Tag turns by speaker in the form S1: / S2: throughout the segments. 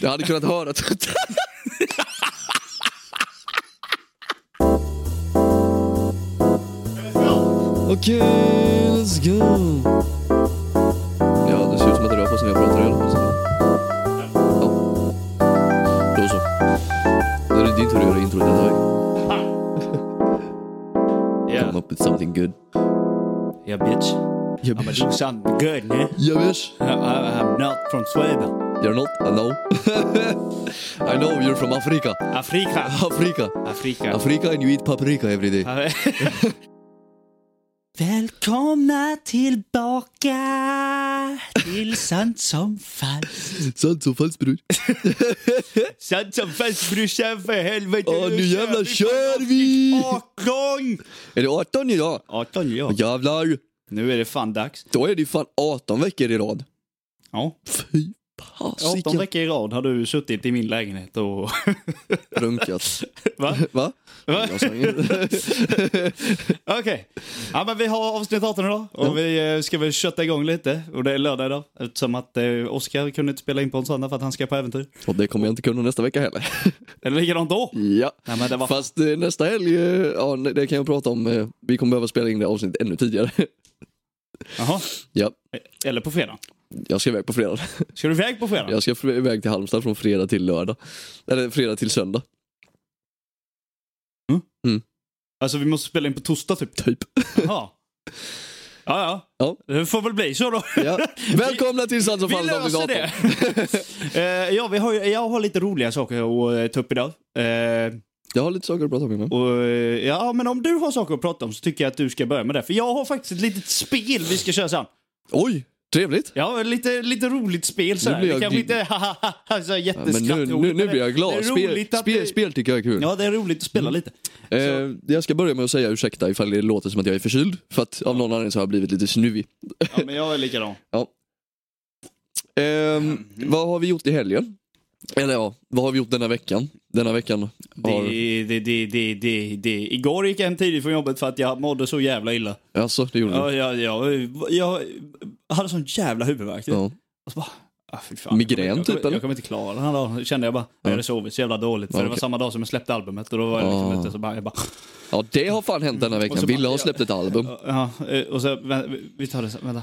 S1: Du hade kunnat höra Okej, let's go. Ja, det ser ut som att det rör på sig när jag pratar i alla fall. så. Ja. Då så. Då är det din tur att göra introt denna vecka. Come
S2: Yeah,
S1: up with something good.
S2: yeah bitch.
S1: Jag
S2: I'm doing something good, man.
S1: Javish.
S2: I, I, I'm not from Sweden.
S1: You're not? I know. I know you're from Africa.
S2: Afrika!
S1: Africa.
S2: Afrika.
S1: Africa and you eat paprika every day.
S2: Välkomna tillbaka till Sant som falskt.
S1: Sant som falskt bror.
S2: Sant som falskt brorsan för helvete.
S1: Åh, nu jävlar kör vi!
S2: 18!
S1: Är det 18 idag?
S2: 18 ja.
S1: Jävlar.
S2: Nu är det fan dags.
S1: Då är det ju fan 18 veckor i rad.
S2: Ja.
S1: Fy
S2: 18
S1: fasiken.
S2: veckor i rad har du suttit i min lägenhet och...
S1: Runkat.
S2: Va?
S1: Va?
S2: Va?
S1: Jag sa inget.
S2: Okej. Ja, men vi har avsnitt 18 idag och vi eh, ska väl kötta igång lite. Och det är lördag idag eftersom att eh, Oskar kunde inte spela in på en söndag för att han ska på äventyr.
S1: Och det kommer jag inte kunna nästa vecka heller.
S2: Eller likadant då.
S1: Ja.
S2: Nej, men det var...
S1: Fast eh, nästa helg, eh, ja nej, det kan jag prata om. eh, Vi kommer behöva spela in det avsnittet ännu tidigare.
S2: Jaha. Eh,
S1: Ja,
S2: Eller på fredag.
S1: jag ska iväg på fredag.
S2: Ska du iväg på fredag?
S1: Jag ska fr- iväg till Halmstad från fredag till lördag. Eller fredag till söndag,
S2: Alltså vi måste spela in på torsdag typ.
S1: typ.
S2: Jaha. Ja, ja.
S1: Ja.
S2: Det får väl bli så då.
S1: Ja. Välkomna till Sands och
S2: Vi
S1: Falls avsnitt
S2: löser
S1: 18.
S2: det. Eh, ja, vi har, ju- jag har lite roliga saker att eh, ta upp idag. Eh,
S1: Jag har lite saker att prata om innan.
S2: Och, eh, ja, men om du har saker att prata om så tycker jag att du ska börja med det. För jag har faktiskt ett litet spel vi ska köra sen.
S1: Oj, trevligt.
S2: Ja, lite, lite roligt spel sådär.
S1: Nu blir
S2: Det
S1: jag
S2: kanske
S1: gl-
S2: inte är så här
S1: Ja, Men nu,
S2: jätteskratt-
S1: nu, nu blir jag
S2: Det
S1: glad.
S2: är
S1: Spel,
S2: roligt att
S1: spel, Mm.
S2: det-
S1: spel tycker jag är kul.
S2: Ja, det är roligt att spela lite.
S1: eh, jag ska börja med att säga ursäkta ifall det låter som att jag är förkyld. För att av någon anledning så har jag blivit lite snuvig.
S2: Ja, men jag är likadan.
S1: Ehm,
S2: Mm.
S1: vad har vi gjort i helgen? Eller ja, vad har vi gjort denna veckan? Denna veckan har...
S2: Det, det, det, det, det, det. Igår gick jag hem tidigt från jobbet för att jag mådde så jävla illa.
S1: Alltså, det gjorde
S2: Ja, jag, jag, jag hade sån jävla huvudvärk.
S1: du. Ja.
S2: Och så bara, ah, fy fan,
S1: Migrän
S2: jag kommer,
S1: typ,
S2: jag, kommer,
S1: eller?
S2: jag kommer inte klara den här dagen. Kände jag bara. Jag hade sovit så jävla dåligt. För
S1: Ja,
S2: det var
S1: okej.
S2: samma dag som jag släppte albumet. Och då var jag
S1: Ah.
S2: liksom lite så bara, jag bara
S1: ja, det har fan hänt denna
S2: Och
S1: veckan.
S2: så
S1: Ville
S2: bara-
S1: har släppt ett album.
S2: Ja, eh, och så, vä- vi tar det sen, vänta.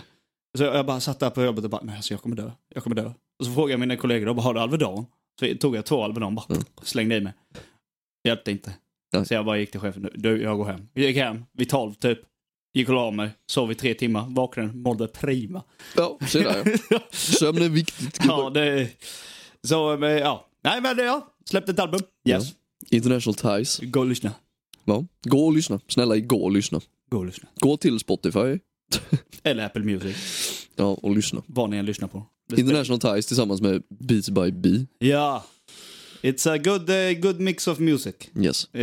S2: Så jag bara satt där på jobbet och bara, nej alltså jag kommer dö, jag kommer dö. Och så frågade jag mina kollegor, de bara, har du Alvedon? Så tog jag två Alvedon bara,
S1: Mm.
S2: slängde i mig. Hjälpte inte.
S1: Nej.
S2: Så jag bara gick till chefen, du jag går hem. Jag gick hem vid tolv typ. Gick och la mig, sov i tre timmar, vaknade, mådde prima.
S1: Ja, se där. ja. Sömn är viktigt.
S2: Ja, det... Så, men, ja. Nej men det, ja. Släppte ett album. Yes.
S1: International Ties.
S2: Gå och lyssna.
S1: Ja. Gå och lyssna. Snälla, gå och lyssna.
S2: Gå och lyssna.
S1: Gå till Spotify
S2: Eller Apple Music,
S1: ja, och lyssna.
S2: vad ni än lyssnar på.
S1: International Ties tillsammans med Beats by B.
S2: Ja. It's a good, eh, good mix of music.
S1: Yes.
S2: Eh,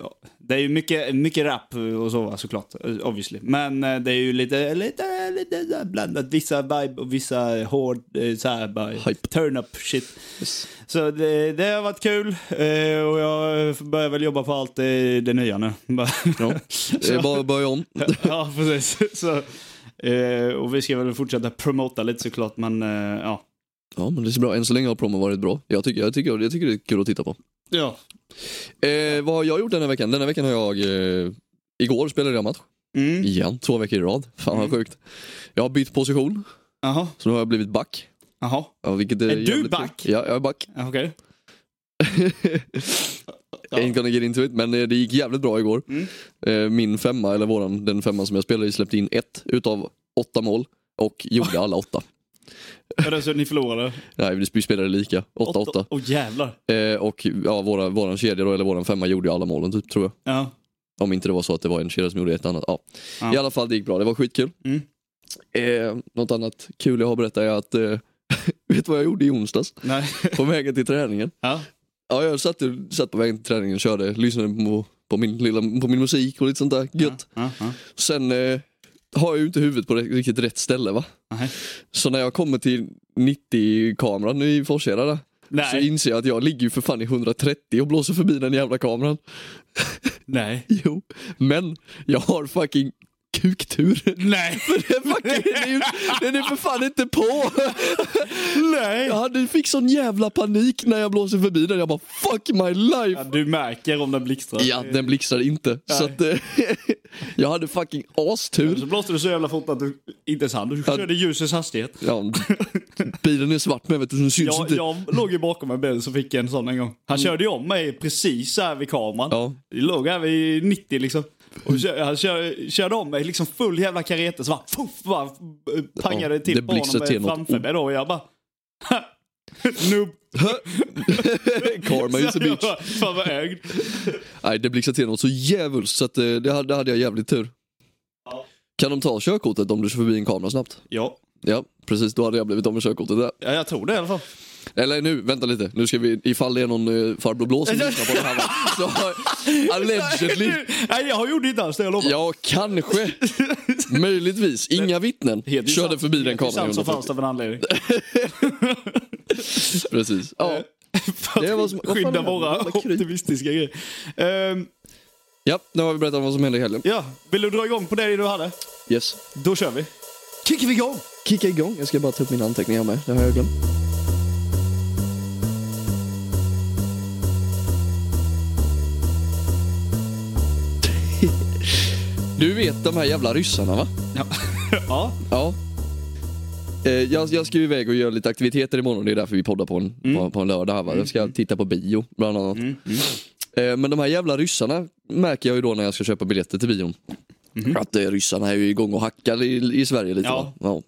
S2: ja. det är ju mycket, mycket rap och så va, såklart, eh, obviously. Men eh, det är ju lite, lite, lite så här blandat. Vissa vibe och vissa hård, eh, så här, bara
S1: Hype.
S2: turn up shit.
S1: yes.
S2: Så det, det har varit kul eh, och jag börjar väl jobba på allt eh, det nya nu. Bara-
S1: Ja. Det är Eh, bara att börja om.
S2: ja, precis. Så, eh, och vi ska väl fortsätta promota lite såklart, men eh, ja.
S1: Ja, men det är bra. Än så länge har promon varit bra. Jag tycker, jag, tycker, jag tycker det är kul att titta på.
S2: Ja.
S1: Eh, vad har jag gjort den här veckan? Den här veckan har jag... Eh, igår spelade jag match.
S2: Mm.
S1: Igen, två veckor i rad. Fan vad
S2: Mm.
S1: sjukt. Jag har bytt position,
S2: Jaha,
S1: så nu har jag blivit back.
S2: jaha.
S1: Ja, vilket är
S2: Är du
S1: jävligt kul.
S2: back?
S1: Ja, jag är back.
S2: Ja, Okej.
S1: Ain't gonna get into it, men eh, det gick jävligt bra igår.
S2: Mm.
S1: Eh, Min femma, eller våran, den femma som jag spelade i, släppte in ett utav åtta mål och gjorde alla åtta.
S2: Är det så ni förlorade?
S1: Nej, vi spelade lika. Åtta, åtta.
S2: Åh jävlar.
S1: Eh, Och ja, våra, våran kedja då, eller våran femma gjorde ju alla målen typ, tror jag.
S2: Ja.
S1: Om inte det var så att det var en kedja som gjorde ett annat. Ja.
S2: Ja.
S1: I alla fall, det gick bra. Det var skitkul.
S2: Mm.
S1: Eh, något annat kul jag har berättat är att, eh, vet du vad jag gjorde i onsdags?
S2: Nej.
S1: På vägen till träningen.
S2: Ja.
S1: Ja, jag satt, satt på vägen till träningen och körde, lyssnade på, på, min, lilla, på min musik och lite sånt där gött.
S2: Ja, ja,
S1: Sen eh, har jag ju inte huvudet på det, riktigt rätt ställe va.
S2: ja.
S1: Så när jag kommer till 90-kameran i Forsheda där, så
S2: Nej.
S1: inser jag att jag ligger ju för fan i 130 och blåser förbi den jävla kameran.
S2: Nej.
S1: Jo, men jag har fucking kuktur.
S2: Nej.
S1: Den, fucking, den, är ju, den är för fan inte på!
S2: Nej.
S1: Jag hade, fick sån jävla panik när jag blåser förbi den. Jag bara fuck my
S2: Ja,
S1: life!
S2: du märker om den blixtrar.
S1: Ja, den blixtrade inte. Så att, eh, jag hade fucking astur.
S2: Så blåste du så jävla fort att du inte ens hann. Du körde ljusets hastighet.
S1: Ja, bilen är svart med vet du, så den syns
S2: Jag,
S1: inte. Mm.
S2: jag låg ju bakom en bil så fick jag en sån en gång. Han körde ju om mig precis här vid kameran.
S1: Ja.
S2: Vi låg här vid 90 liksom. Och kö- han kör, körde om mig liksom full jävla karete så bara, fuff, bara eh, pangade
S1: Ja,
S2: till
S1: det
S2: på honom
S1: blixtrade till
S2: eh,
S1: något.
S2: framför mig då och jag bara... "Ha, Noob.
S1: Karma is a
S2: Så jag
S1: bitch.
S2: bara, Fan vad ägd.
S1: Nej, det blixtrade till något så djävulskt så att, eh, det, hade, det hade jag jävligt tur.
S2: Ja.
S1: Kan de ta körkortet om du kör förbi en kamera snabbt?
S2: Ja.
S1: Ja, precis. Då hade jag blivit av med körkortet där.
S2: ja, jag tror det i alla fall.
S1: Eller nu, vänta lite. Nu ska vi, ifall det är någon eh, farbror blå som lyssnar på det här va? Så har- allegedly.
S2: Nej, jag gjorde inte alls det, jag lovar.
S1: Ja, kanske. Möjligtvis. Inga vittnen
S2: Helt i
S1: körde
S2: sans-
S1: förbi den
S2: helt i
S1: kameran.
S2: sans så fanns det av en anledning.
S1: Precis.
S2: Eh.
S1: Ja.
S2: För att
S1: Det var som- vad fan är
S2: skydda
S1: det här?
S2: våra
S1: Jävla kryp.
S2: optimistiska grejer. Ehm,
S1: ja, nu har vi berättat om vad som hände i helgen.
S2: ja, vill du dra igång på det du hade?
S1: Yes.
S2: Då kör vi. Kickar vi igång!
S1: Kicka igång. Jag ska bara ta upp mina anteckningar med. Det har jag glömt. Du vet de här jävla ryssarna va?
S2: Ja. ja.
S1: Ja. Eh, jag, jag ska ju iväg och göra lite aktiviteter imorgon. Det är därför vi poddar på en,
S2: Mm.
S1: på, på en lördag här va. Jag ska titta på bio bland annat.
S2: Mm.
S1: Eh, men de här jävla ryssarna märker jag ju då när jag ska köpa biljetter till bion. Att eh, ryssarna är ju igång och hackar i, i Sverige lite
S2: Mm. Ja.
S1: va.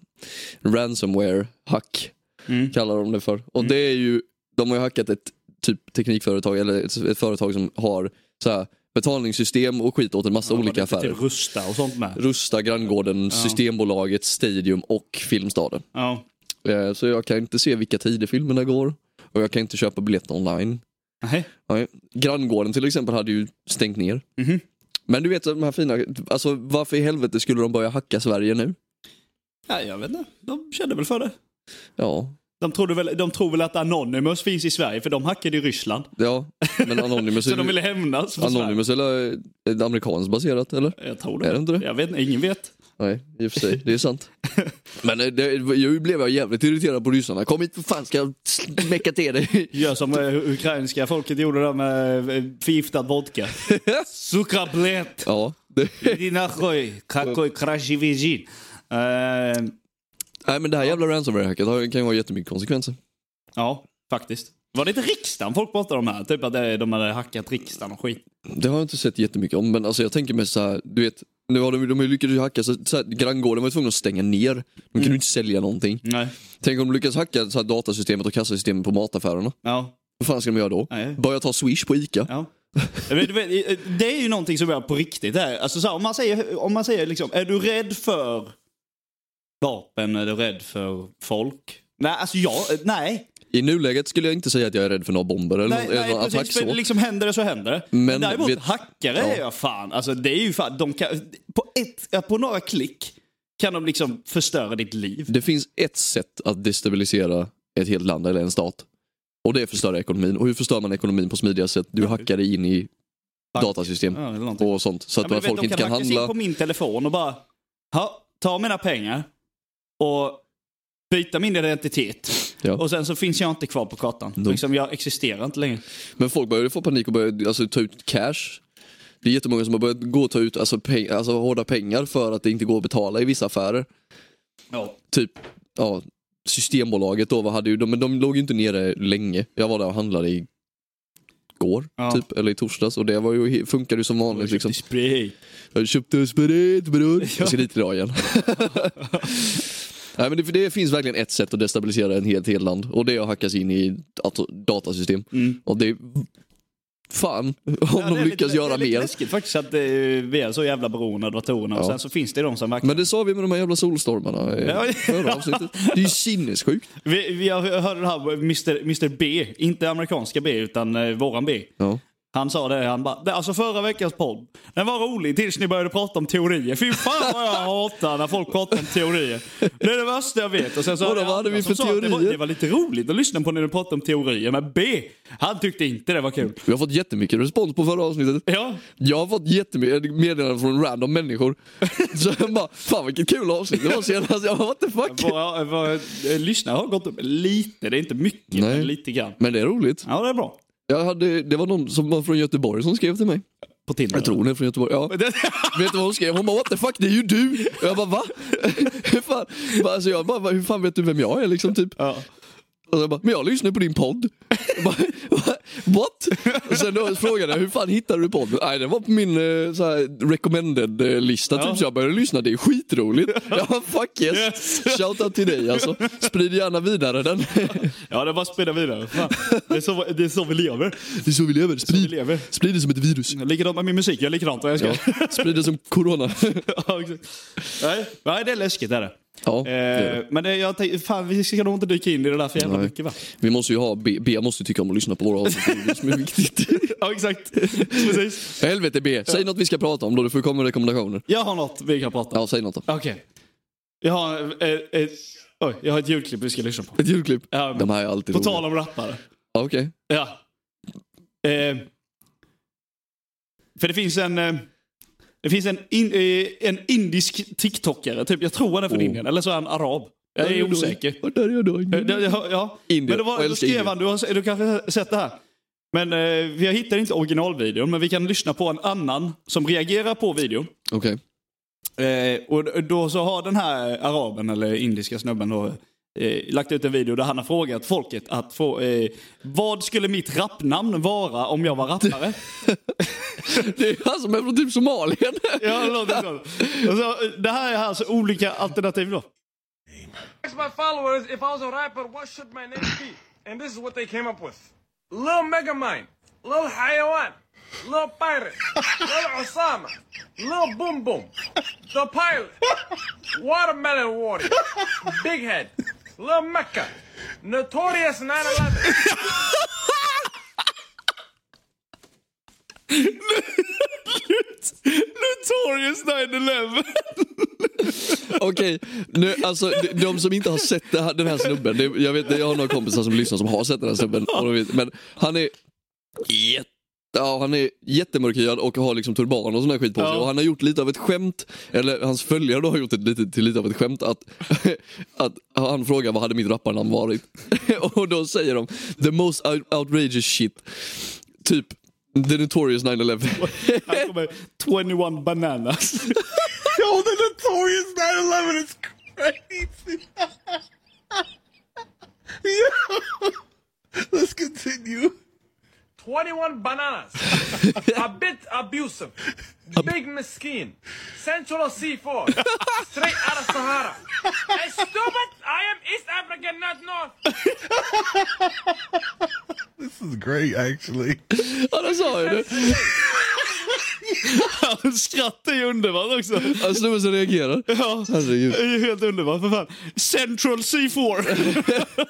S1: Ja. Ransomware-hack
S2: Mm.
S1: kallar de det för. Och det är ju, de har ju hackat ett typ teknikföretag eller ett, ett företag som har så här, betalningssystem och skit åt en massa olika
S2: Lite
S1: affärer.
S2: Typ rusta och sånt med.
S1: Rusta, Granngården, Systembolaget, Stadium och Filmstaden.
S2: Ja.
S1: Eh, Så jag kan inte se vilka tider filmerna går och jag kan inte köpa biljetter online.
S2: Nej.
S1: Nej. Granngården till exempel hade ju stängt ner.
S2: Mhm.
S1: Men du vet de här fina, alltså varför i helvete skulle de börja hacka Sverige nu?
S2: Ja, jag vet inte. De kände väl för det.
S1: Ja,
S2: De, trodde väl, de tror väl att Anonymous finns i Sverige, för de hackade i Ryssland.
S1: ja. men Anonymous,
S2: Så
S1: är,
S2: de
S1: ju-
S2: ville hämnas. för
S1: Anonymous eller är det amerikanskt baserat eller?
S2: Sverige. Jag tror det.
S1: Är det inte det?
S2: Jag vet inte, ingen vet.
S1: Nej, i och för sig, det är sant. Men eh, det, jag blev jag jävligt irriterad på ryssarna. Kom hit för fan ska jag smäcka till dig.
S2: Gör som eh, ukrainska folket gjorde där med eh, förgiftad vodka. Sukrablett!
S1: Ja, det,
S2: Иди нахуй, какой красивый зин. Eh,
S1: nej men det här jävla ransomware-hacket har- kan ju ha jättemycket konsekvenser.
S2: ja, faktiskt. Var det inte riksdagen folk pratade om här? Typ att det- de hade hackat riksdagen och skit.
S1: Det har jag inte sett jättemycket om, men alltså jag tänker mig så här, du vet, nu har de, de har ju lyckats hacka, så, så här, granngården var ju tvungna att stänga ner. De kunde
S2: Mm.
S1: ju inte sälja någonting.
S2: Nej.
S1: Tänk om de lyckas hacka så här, datasystemet och kassasystemet på mataffärerna.
S2: Ja.
S1: Vad fan ska de göra då?
S2: Nej.
S1: Börja ta swish på ICA?
S2: ja. Men du vet, eh, Det är ju någonting som är på riktigt. Här. Alltså så här, om man säger, om man säger liksom, är du rädd för vapen? Är du rädd för folk? Nej, alltså jag, nej.
S1: I nuläget skulle jag inte säga att jag är rädd för några bomber eller,
S2: Nej,
S1: någon, eller
S2: nej
S1: någon attack
S2: precis. För
S1: så.
S2: liksom händer det så händer det.
S1: Men
S2: Men Däremot
S1: vet-
S2: hackare
S1: ja.
S2: är jag fan. Alltså det är ju fan. De kan, på, ett, ja, på några klick kan de liksom förstöra ditt liv.
S1: Det finns ett sätt att destabilisera ett helt land eller en stat. Och det är att förstöra ekonomin. Och hur förstör man ekonomin på smidiga sätt? Du hackar dig in i datasystem
S2: Ja, eller någonting.
S1: och sånt. Så
S2: Ja,
S1: att
S2: men du vet,
S1: folk
S2: de
S1: inte
S2: kan
S1: kan
S2: hacka sig in
S1: handla.
S2: på min telefon och bara ha, ta mina pengar och byta min identitet.
S1: Ja.
S2: Och sen så finns jag inte kvar på kartan. Liksom, jag existerar inte längre.
S1: Men folk börjar ju få panik och börjar alltså, ta ut cash. Det är jättemånga som har börjat gå och ta ut alltså, peng, alltså, hårda pengar för att det inte går att betala i vissa affärer.
S2: Ja.
S1: Typ ja, Systembolaget då, vad hade ju, de, men de låg ju inte nere länge. Jag var där och handlade i går,
S2: Ja.
S1: typ, eller i torsdags och det var ju, he- funkade ju som vanligt. Liksom.
S2: Display.
S1: Jag köpte spirit bror. Jag ska dit idag igen. Nej, men det, för det finns verkligen ett sätt att destabilisera en helt, helt land och det är att hacka sig in i dat- datasystem. Och det Fan, om
S2: Mm. Ja, det
S1: de
S2: är
S1: lyckas
S2: lite,
S1: göra
S2: Det är lite
S1: mer.
S2: läskigt faktiskt att eh, vi är så jävla beroende av datorerna. Och
S1: Ja.
S2: sen så finns det de som verkligen...
S1: Men det sa vi med de här jävla solstormarna i
S2: Ja.
S1: förra avsnittet. Det är ju sinnessjukt.
S2: Vi, vi har hört det här, Mr, Mr B. Inte amerikanska B, utan eh, våran B.
S1: Ja.
S2: Han sa det, han bara, "Det- alltså förra veckans podd, den var rolig tills ni började prata om teorier. Fy fan vad jag hatar när folk pratar om teorier. Det är det värsta jag vet. Och sen så
S1: Vadå,
S2: hade
S1: vad hade
S2: jag
S1: vi för
S2: som sa att Det var,
S1: teorier?
S2: det var lite roligt att lyssna på när du pratade om teorier, men B, han tyckte inte det var kul.
S1: Vi har fått jättemycket respons på förra avsnittet.
S2: Ja,
S1: Jag har fått jättemycket meddelanden från random människor. Så jag bara, fan vilket kul avsnitt det var senast. Jag bara, what the fuck?
S2: våra, våra eh, lyssnare har gått upp lite, det är inte mycket,
S1: Nej.
S2: men lite grann.
S1: Men det är roligt.
S2: Ja, det är bra.
S1: Jag hade, det var någon som var från Göteborg som skrev till mig.
S2: På Tinder.
S1: Jag tror hon är från Göteborg. Ja. Vet du vad hon skrev? Hon bara what the fuck, det är ju du! Och jag bara va? hur, fan? Bara, Alltså jag bara, "Va, hur fan vet du vem jag är liksom? Typ.
S2: Ja.
S1: Och så bara, men jag lyssnar på din podd. Jag bara, "Va? What? Och sen då frågade jag, hur fan hittade du podden? Nej, den var på min eh, så här, recommended-lista.
S2: Ja.
S1: Typ. Så jag började lyssna, det är skitroligt. Jag bara, fuck yes.
S2: Yes.
S1: Shoutout till dig alltså. Sprid gärna vidare den.
S2: ja, det är bara att sprida vidare. Fan. Det, är så, det är så vi lever.
S1: Det är så vi lever.
S2: Vi
S1: Sprid,
S2: lever.
S1: sprid det som ett virus.
S2: Likadant med min musik, jag är likadant. och Jag
S1: Ja.
S2: älskar.
S1: Sprid det som corona.
S2: Ja, exakt. Nej, nej, det är läskigt. Är det.
S1: Ja, det är det.
S2: Eh, men det, jag tänkte, fan, vi ska nog inte dyka in i det där för jävla
S1: Nej.
S2: mycket va?
S1: Vi måste ju ha, B, B måste ju tycka om att lyssna på våra avsnitt. Det är det som är viktigt.
S2: Ja, exakt. Precis.
S1: Helvete B, säg något vi ska prata om då. Du får komma med rekommendationer.
S2: Jag har något vi kan prata om.
S1: Ja, säg något då.
S2: Okej. Jag har eh, eh, oj, jag har ett ljudklipp vi ska lyssna på.
S1: Ett julklipp.
S2: Ja, men-
S1: De här är alltid
S2: På
S1: roliga.
S2: tal om rappare.
S1: Ja, okej.
S2: Ja. Eh, för det finns en... Eh, det finns en, in, eh, en indisk TikTokare, typ, jag tror han är från
S1: Oh.
S2: Indien, eller så är han arab. Jag är osäker.
S1: Vart är jag då?
S2: Eh, det- Ja, ja.
S1: Indier.
S2: Men det
S1: Och
S2: var, då
S1: älskar
S2: skrev
S1: Indier.
S2: han, du, har, du kanske har sett det här. Men eh, jag hittar inte originalvideon, men vi kan lyssna på en annan som reagerar på videon.
S1: Okej.
S2: Eh, och d- då så har den här araben, eller indiska snubben då, eh, lagt ut en video där han har frågat folket att få, eh, vad skulle mitt rappnamn vara om jag var rappare?
S1: Det är
S2: Alltså,
S1: han som är från typ Somalia.
S2: ja, det låter så. Och så, eh, det här är alltså olika alternativ då.
S3: asked my followers if I was a rapper, what should my name be? And this is what they came up with. Lil Megamind, Lil Hayawan, Lil Pirate, Lil Osama, Lil Boom Boom, The Pilot, Watermelon Water, Big Head, Lil Mecca, Notorious 911.
S2: Notorious 9-11!
S1: Okej, nu, alltså de- de som inte har sett det här, den här snubben. Det, jag, vet, jag har några kompisar som lyssnar som har sett den här snubben. Och de vet, men han är jätte... Ja, han är jättemörkhyad och har liksom turban och sån där skit på sig.
S2: Ja.
S1: Och han har gjort lite av ett skämt, eller hans följare då har gjort ett lite, till lite av ett skämt att, att han frågar vad hade mitt rapparnamn varit? och då säger de the most out- outrageous shit. Typ the notorious 9-11.
S2: Här kommer 21 bananas.
S4: Yo, the notorious 911 is crazy. Yo, let's continue.
S3: 21 bananas. a bit abusive. Big Miskin. Central C4. Straight out of Sahara. And stupid, I am East African, not North.
S4: This is great, actually.
S1: ja, det sa jag det.
S2: Skratt är ju underbart också. Alltså,
S1: Han Alltså, snubben som reagerar.
S2: Ja.
S1: Herregud.
S2: Det är ju helt underbart för fan. Central C4!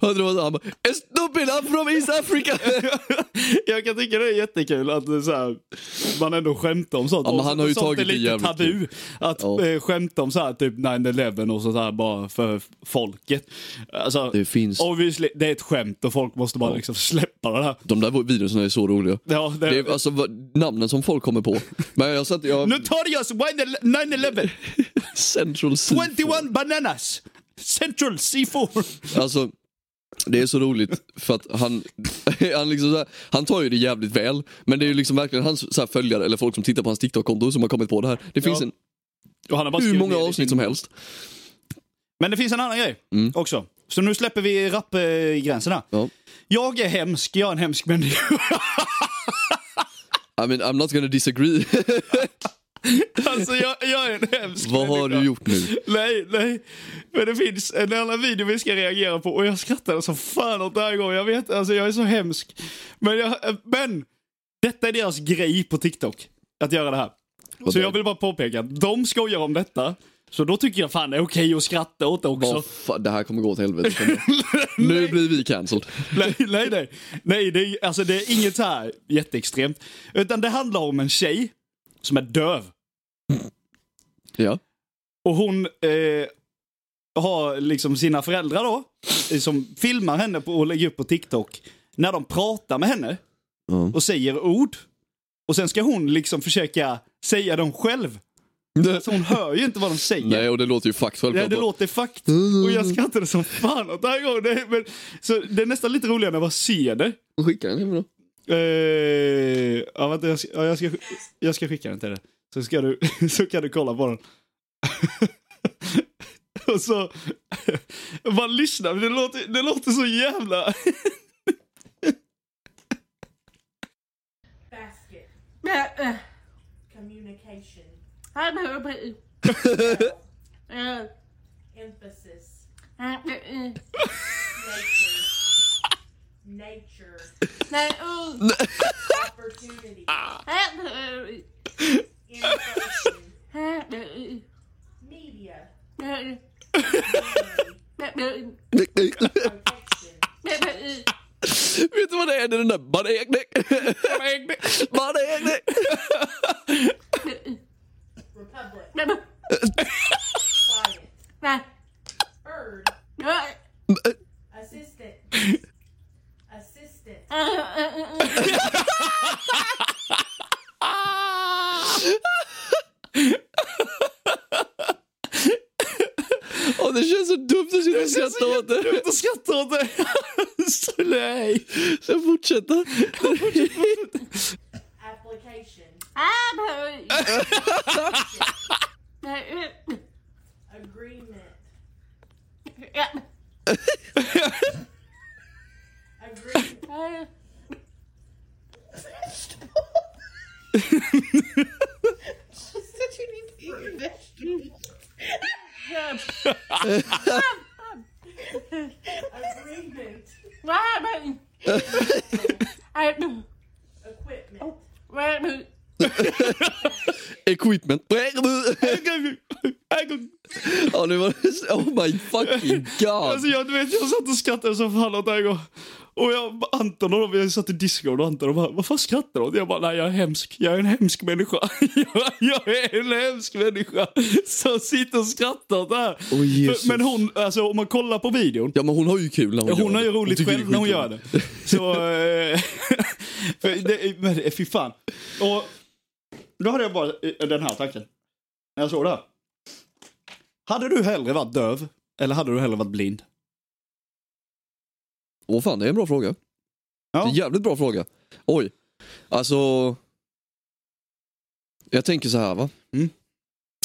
S1: Hörde du vad han bara "A Stupid, I'm from East Africa!
S2: Jag kan tycka det är jättekul att det är så här, man ändå skämtar om sånt.
S1: Ja, men
S2: Och
S1: han har ju
S2: sånt är
S1: tagit det
S2: lite
S1: jävligt
S2: tabu. Att
S1: Ja.
S2: eh, skämta om så här, typ 9-11 och sånt här bara för folket. Alltså,
S1: Det finns-
S2: Obviously, det är ett skämt och folk måste bara liksom släppa det här.
S1: De där videorna är så roliga.
S2: Ja, det,
S1: Det är alltså vad- namnen som folk kommer på. Men jag satt, jag...
S2: Notorious 9-11,
S1: Central C.
S2: 21 bananas, Central C4.
S1: Alltså, det är så roligt för att han, han, liksom så här, han tar ju det jävligt väl. Men det är ju liksom verkligen hans så här följare eller folk som tittar på hans TikTok-konto som har kommit på det här. Det finns
S2: Ja.
S1: en,
S2: Och han har bara
S1: hur
S2: skrivit
S1: många
S2: ner det i
S1: avsnitt som
S2: sin-
S1: helst. Mm.
S2: Men det finns en annan grej också. Så nu släpper vi rappgränserna.
S1: Ja.
S2: Jag är hemsk, jag är en hemsk människa.
S1: I mean, I'm not gonna disagree.
S2: Alltså jag, jag är en hemsk
S1: vad har
S2: människa.
S1: du gjort nu?
S2: Nej, nej. Men det finns en annan video vi ska reagera på och jag skrattade så fan åt det här igår. Jag vet, alltså jag är så hemsk. Men, jag, men detta är deras grej på TikTok, att göra det här. Så
S1: Vadå?
S2: jag vill bara påpeka att de skojar om detta. Så då tycker jag fan det är okej att skratta åt det också.
S1: Vad fan, det här kommer gå åt helvete. för mig. nu blir vi cancelled.
S2: nej, nej, nej. nej det, är, alltså, det är inget så här jätteextremt. Utan det handlar om en tjej som är döv.
S1: Ja.
S2: Och hon eh, har liksom sina föräldrar då, eh, som filmar henne på, och lägger upp på TikTok. När de pratar med henne
S1: Mm.
S2: och säger ord. Och sen ska hon liksom försöka säga dem själv. Så hon hör ju inte vad de säger.
S1: Nej, Mm. och det låter ju fucked
S2: Ja,
S1: självklart.
S2: det låter fakt. Och jag skrattade som fan åt det här gången. Det, är- men, så det är nästan lite roligare när man ser det.
S1: Skicka den hem då.
S2: Eh, ja, vänta, jag, ska, ja, jag, ska, jag ska skicka den till dig. Så, ska du, så kan du kolla på den. Och så... Bara lyssna, men det låter, det låter så jävla...
S5: basket
S6: Uh,
S5: communication
S6: I know, but. Uh,
S5: emphasis
S6: uh, uh,
S5: nature nature
S6: no, uh,
S5: opportunity
S6: I
S5: information
S6: know, uh, uh,
S5: media
S6: uh, uh, uh,
S5: protection
S6: uh, uh.
S1: Vet du vad det är? Det är den där Banegnek. Banegnek.
S5: republic
S6: Remember?
S5: client
S6: Nah,
S5: bird
S6: uh,
S5: assistant assistant
S6: uh, uh, uh.
S1: Åh, det känns så dumt att sitta och skratta åt det.
S2: Jag skrattar åt det. Så Nej.
S1: Ska jag fortsätta?
S5: application
S6: I'm hurry. Uh, uh,
S5: agreement
S6: yeah,
S5: agreement
S6: uh,
S4: Said you need to eat your vegetables.
S5: agreement
S6: why, but- I know,
S5: equipment
S6: why, but-
S1: Equipment. Ja, nu var det... Oh my fucking
S2: Alltså
S1: god.
S2: jag, du vet, jag satt och skrattade som fan åt det här gången. Och jag, Anton och de, vi satt i Discord och Anton och bara, vad fan skrattar du åt? Jag bara, nej jag är hemsk. Jag är en hemsk människa. Jag, jag är en hemsk människa som sitter och skrattar åt det här.
S1: Åh, Jesus.
S2: men hon, alltså om man kollar på videon.
S1: Ja, men hon har ju kul när hon, gör
S2: Hon har ju
S1: det.
S2: roligt
S1: tycker
S2: själv när hon gör
S1: skitkul.
S2: det. Så, eh, för det är- men eh, fy fan. Och då hade jag bara eh, den här tanken. När jag såg det här. Hade du hellre varit döv eller hade du hellre varit blind?
S1: Åh fan, det är en bra fråga. Det
S2: Ja.
S1: är en jävligt bra fråga. Oj. Alltså... Jag tänker så här va.
S2: Mm.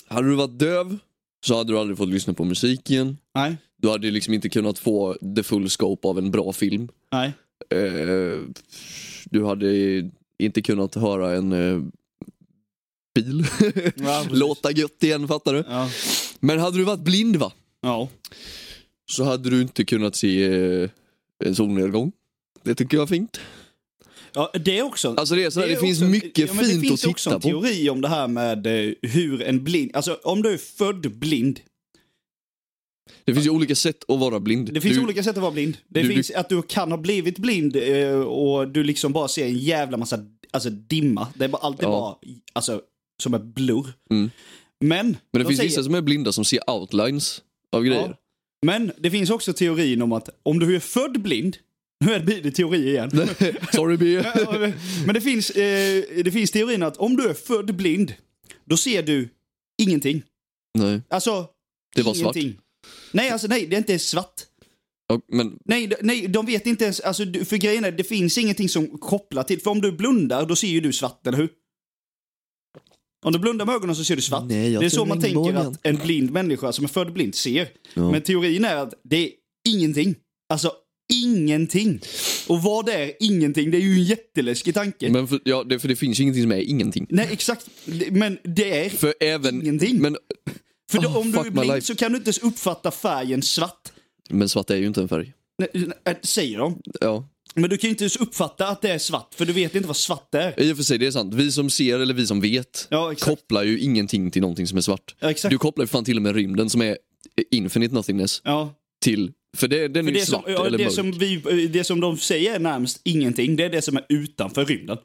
S1: Hade du varit döv så hade du aldrig fått lyssna på musik igen.
S2: Nej.
S1: Du hade ju liksom inte kunnat få the full scope av en bra film.
S2: Nej.
S1: Eh, du hade inte kunnat höra en eh, bil
S2: Ja, precis.
S1: låta gött igen, fattar du?
S2: Ja.
S1: Men hade du varit blind va?
S2: Ja.
S1: Så hade du inte kunnat se eh, en solnedgång. Det tycker jag är fint.
S2: ja det är också.
S1: Alltså det är sådär, det,
S2: är
S1: finns
S2: också-
S1: mycket
S2: men
S1: fint
S2: det finns
S1: att titta
S2: också en
S1: på.
S2: teori om det här med eh, hur en blind, alltså om du är född blind.
S1: Det finns ju olika sätt att vara blind.
S2: Det finns
S1: du,
S2: olika sätt att vara blind. Det
S1: du-
S2: finns att du kan ha blivit blind eh, och du liksom bara ser en jävla massa alltså, dimma. Det är bara alltid
S1: Ja.
S2: bara alltså, som en blur.
S1: Mm.
S2: Men,
S1: Men det
S2: de
S1: finns
S2: säger-
S1: vissa som är blinda som ser outlines av grejer.
S2: Ja. Men det finns också teorin om att om du är född blind, nu är det teori igen.
S1: Sorry B.
S2: Ja, Men det finns, eh, det finns teorin att om du är född blind, då ser du ingenting.
S1: nej,
S2: Alltså,
S1: det var svart.
S2: ingenting. Nej, alltså nej, det är inte svart.
S1: Ja, men
S2: Nej, d- nej, de vet inte ens, alltså, du- för grejen är, det finns ingenting som kopplar till, för om du blundar då ser ju du svart, eller hur? Om du blundar med ögonen så ser du svart.
S1: Nej, jag
S2: det är
S1: ser
S2: så man tänker
S1: regnbågen.
S2: att en blind människa som är född blind ser.
S1: Ja.
S2: Men teorin är att det är ingenting. Alltså, ingenting. Och vad det är ingenting, det är ju en jätteläskig tanke.
S1: Men för, ja, det, för det finns ju ingenting som är ingenting.
S2: Nej, exakt. Det- Men det är... För,
S1: För även...
S2: Ingenting.
S1: Men,
S2: då,
S1: Oh,
S2: om du
S1: fuck
S2: är
S1: my
S2: blind
S1: life.
S2: så kan du inte ens uppfatta färgen svart.
S1: men svart är ju inte en färg.
S2: Nej, nej, Säger de.
S1: Ja.
S2: Men du kan ju inte ens uppfatta att det är svart, för du vet inte vad svart är.
S1: I och för sig, det är sant. Vi som ser eller vi som vet
S2: Ja, exakt.
S1: kopplar ju ingenting till någonting som är svart.
S2: Ja, exakt.
S1: Du kopplar ju fan till och med rymden som är infinite nothingness
S2: Ja.
S1: till, för det, den
S2: För
S1: är ju
S2: det som,
S1: svart
S2: ja,
S1: eller
S2: det,
S1: mörk.
S2: som vi, eh, det som de säger är närmst ingenting, det är det som är utanför rymden.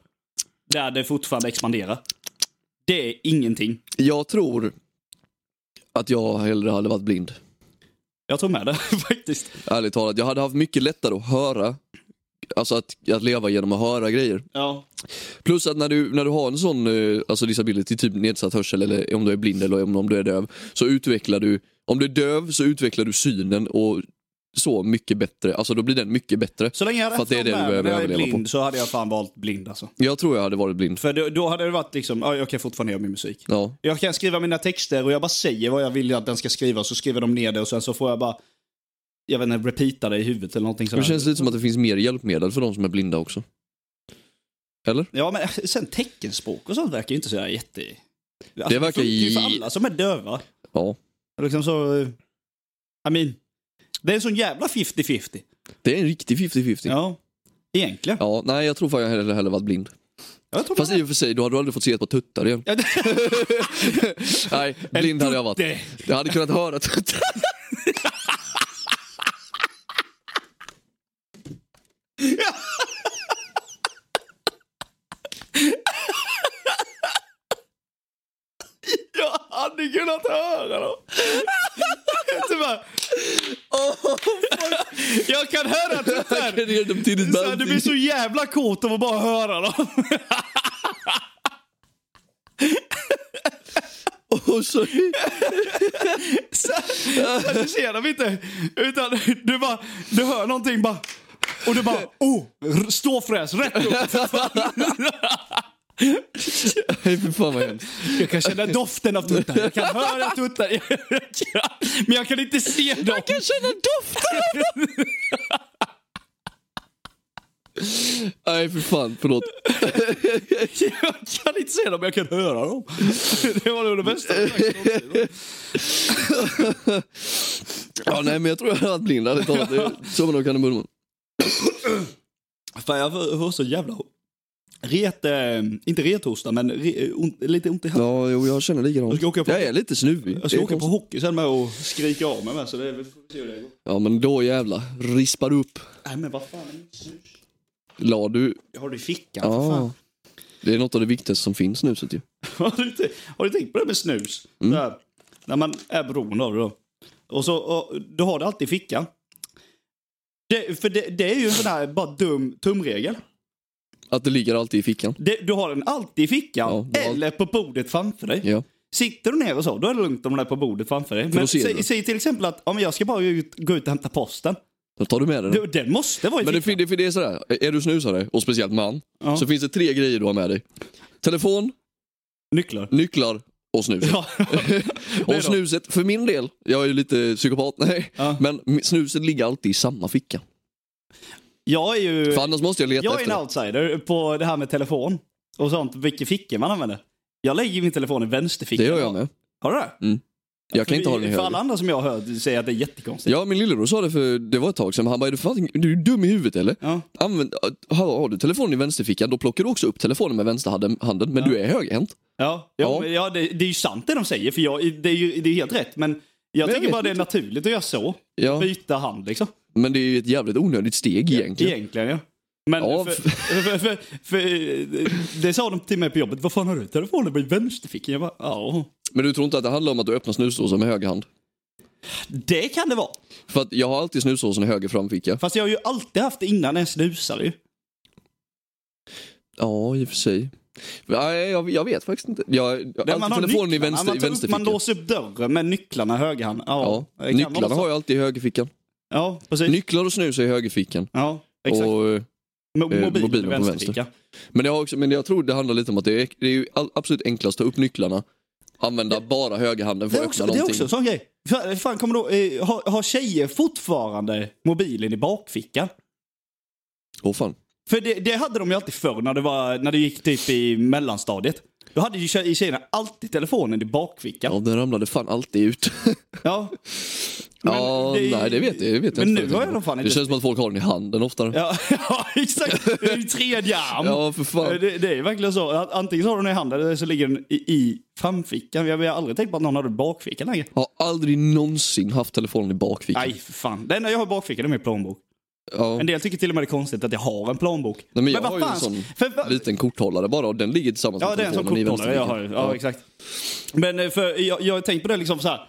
S2: Där det fortfarande expanderar. Det är ingenting.
S1: Jag tror att jag hellre hade varit blind.
S2: Jag tror med det faktiskt.
S1: Ärligt talat, jag hade haft mycket lättare att höra. Alltså att, att leva genom att höra grejer.
S2: Ja.
S1: Plus att när du, när du har en sån eh, alltså disability, typ nedsatt hörsel eller om du är blind eller om, om du är döv. Så utvecklar du, om du är döv så utvecklar du synen och så mycket bättre. Alltså då blir den mycket bättre.
S2: Så länge jag hade
S1: För att det är det du behöver
S2: framöver när jag är
S1: överleva
S2: blind så hade jag fan valt blind alltså.
S1: Jag tror jag hade varit blind.
S2: För då, då hade det varit liksom, ja, jag kan fortfarande göra min musik.
S1: Ja.
S2: Jag kan skriva mina texter och jag bara säger vad jag vill att den ska skriva så skriver de ner det och sen så får jag bara, jag vet inte, repeata det i huvudet eller någonting
S1: Det
S2: sånt.
S1: känns lite som att det finns mer hjälpmedel för de som är blinda också. Eller?
S2: Ja, men sen teckenspråk och sånt verkar ju inte så där jätte... Alltså,
S1: verkar
S2: funkar ju för
S1: i-
S2: alla som är döva.
S1: Ja.
S2: Liksom så... eh, I mean, det är en sån jävla 50-50.
S1: Det är en riktig 50-50. Ja.
S2: Ja, egentligen.
S1: nej jag tror fan jag hellre, hellre varit blind.
S2: Jag tror
S1: Fast
S2: man-
S1: i och för sig, då hade du aldrig fått se ett par tuttar igen. Nej, blind hade jag varit.
S2: Det-
S1: Jag hade kunnat höra tuttar.
S2: Jag hade kunnat höra dem. Tyvärr. jag kan höra tuttar.
S1: Jag kan ge dem till ditt
S2: Så här, Det blir
S1: band.
S2: så jävla coolt av att bara höra dem.
S1: Och så-
S2: Så, så du ser dem inte. Utan du bara, du hör någonting bara. Och du bara, oh, r- ståfräs rätt upp. för fan.
S1: Nej, fy fan vad hemskt.
S2: Jag kan känna doften av tuttar, jag kan höra tuttar. Men jag kan inte se dem. Jag kan känna doften!
S1: Nej, för fan, förlåt.
S2: Jag kan inte se dem, men jag kan höra dem. Det var nog det bästa.
S1: Ja, nej, men jag tror jag hade varit blind, ärligt talat. Det är- Så man nog kan i munnen.
S2: Fan, jag har så jävla... Ret, eh, inte rethosta, men re, ont, lite ont i halsen.
S1: Ja, jo, jag känner likadant.
S2: Jag ska åka på-
S1: Jag är lite snuvig.
S2: Jag ska
S1: Det är
S2: åka på
S1: konstigt.
S2: hockey sen med och skrika av mig med, så det vi får se hur det går.
S1: Ja, men då jävla rispar du upp.
S2: Nej men vad fan, är det snus?
S1: La du...
S2: Jag har det i fickan för fan.
S1: Ja. Det är något av det viktigaste som finns nu, så att ju.
S2: Har du, inte- har du tänkt på det med snus?
S1: Mm.
S2: Så här, när man är beroende av det då. Och så, och, du har det alltid i fickan. Det, för det, det är ju en sån här bara dum tumregel.
S1: Att det ligger alltid i fickan.
S2: Det, du har den alltid i fickan
S1: Ja, du har-
S2: eller på bordet framför dig.
S1: Ja.
S2: Sitter du ner och så, då är det lugnt om den är på bordet framför dig. Men
S1: då ser du.
S2: säg, säg till exempel att ja, men jag ska bara ut, gå ut och hämta posten.
S1: Då tar du med dig den.
S2: Du, den måste vara i
S1: Men det, fin-
S2: fickan.
S1: det, fin- det är sådär, är du snusare och speciellt man,
S2: Ja.
S1: så finns det tre grejer du har med dig. Telefon,
S2: Nycklar.
S1: nycklar och snus.
S2: Ja.
S1: och snuset, för min del, jag är ju lite psykopat, nej,
S2: Ja.
S1: men m- snuset ligger alltid i samma ficka.
S2: Jag är ju...
S1: För annars måste jag leta
S2: Eh, Jag är
S1: efter
S2: en
S1: det.
S2: outsider på det här med telefon och sånt, vilka fickor man använder. Jag lägger min telefon i vänsterfickan.
S1: Det gör jag med. Mm.
S2: Har du det?
S1: Jag kan inte
S2: För
S1: ha den i
S2: vi- För alla
S1: höger.
S2: andra som jag har hört säger att det är jättekonstigt.
S1: Ja, min lillebror sa det för det var ett tag sedan, han bara, är du, fan, du är dum i huvudet eller?
S2: Ja.
S1: Använd, har, har du telefonen i vänsterfickan, då plockar du också upp telefonen med vänsterhanden, handen, men du är högerhänt.
S2: Ja, ja,
S1: Ja.
S2: Men, ja det, det är ju sant det de säger, för jag, det är ju det är helt rätt. Men jag
S1: Men jag
S2: tycker
S1: vet
S2: bara det är
S1: inte.
S2: naturligt att göra så.
S1: Ja,
S2: Byta hand liksom.
S1: men det är ju ett jävligt onödigt steg egentligen.
S2: Egentligen ja. Men
S1: Ja,
S2: för,
S1: f-
S2: för, för, för, det sa de till mig på jobbet. Vad fan har du telefonen i vänsterfickan? Jag bara, ja.
S1: Men du tror inte att det handlar om att du öppnar snusdosan med höger hand?
S2: Det kan det vara.
S1: För att jag har alltid snusdosan i höger framficka.
S2: Fast jag har ju alltid haft det innan jag snusade ju.
S1: Ja, i och för sig. Nej, jag, jag vet faktiskt inte. Jag, jag har
S2: Där man har
S1: alltid telefonen i
S2: nycklarna,
S1: vänster,
S2: man,
S1: i
S2: tar upp-
S1: vänsterfickan.
S2: Man låser upp dörren med nycklarna i högerhand. Ja,
S1: ja.
S2: det kan man
S1: Nycklarna
S2: också.
S1: har jag alltid i högerfickan.
S2: Ja, precis.
S1: Nycklar och snus är i högerfickan.
S2: ja, exakt.
S1: Och, eh,
S2: Mo-
S1: eh,
S2: mobilen,
S1: mobilen
S2: i
S1: på
S2: vänsterficka.
S1: men, jag har också, men jag tror det handlar lite om att det är, det är ju all, absolut enklast att ta upp nycklarna, använda bara högerhanden
S2: Det
S1: för
S2: är
S1: att
S2: också,
S1: öppna
S2: det är
S1: någonting.
S2: också en sån grej. Fan, fan kommer då, eh, har, har tjejer fortfarande mobilen i bakfickan?
S1: Åh fan.
S2: För det, det hade de ju alltid förr när det, var, när det gick typ i mellanstadiet. Då hade ju tjej- tjejerna alltid telefonen i bakfickan.
S1: Ja, den ramlade fan alltid ut.
S2: Ja.
S1: Ja,
S2: det-
S1: nej det vet jag, det vet jag
S2: Men
S1: inte.
S2: nu har jag nog fan
S1: Det
S2: inte-
S1: känns som att folk har den i handen oftare. Ja,
S2: Ja, ja exakt. Det är ju tredje arm.
S1: Ja, för fan.
S2: Det, det är verkligen så. Att Antingen så har du den i handen eller så ligger den i, i framfickan. Jag jag har aldrig tänkt på att någon hade den i bakfickan längre.
S1: Har aldrig någonsin haft telefonen i bakfickan.
S2: Nej, för fan. Det enda jag har i bakfickan är min plånbok.
S1: Ja.
S2: En del tycker till och med det är konstigt att jag har en plånbok.
S1: Nej, men jag har ju en
S2: fan-
S1: sån
S2: för vad-
S1: liten korthållare bara och den ligger tillsammans
S2: Ja,
S1: med
S2: det är en sån
S1: telefonen i
S2: korthållare jag har.
S1: vänsterfickan.
S2: Ja, ja, exakt. Men eh, för jag, jag har tänkt på det liksom så här.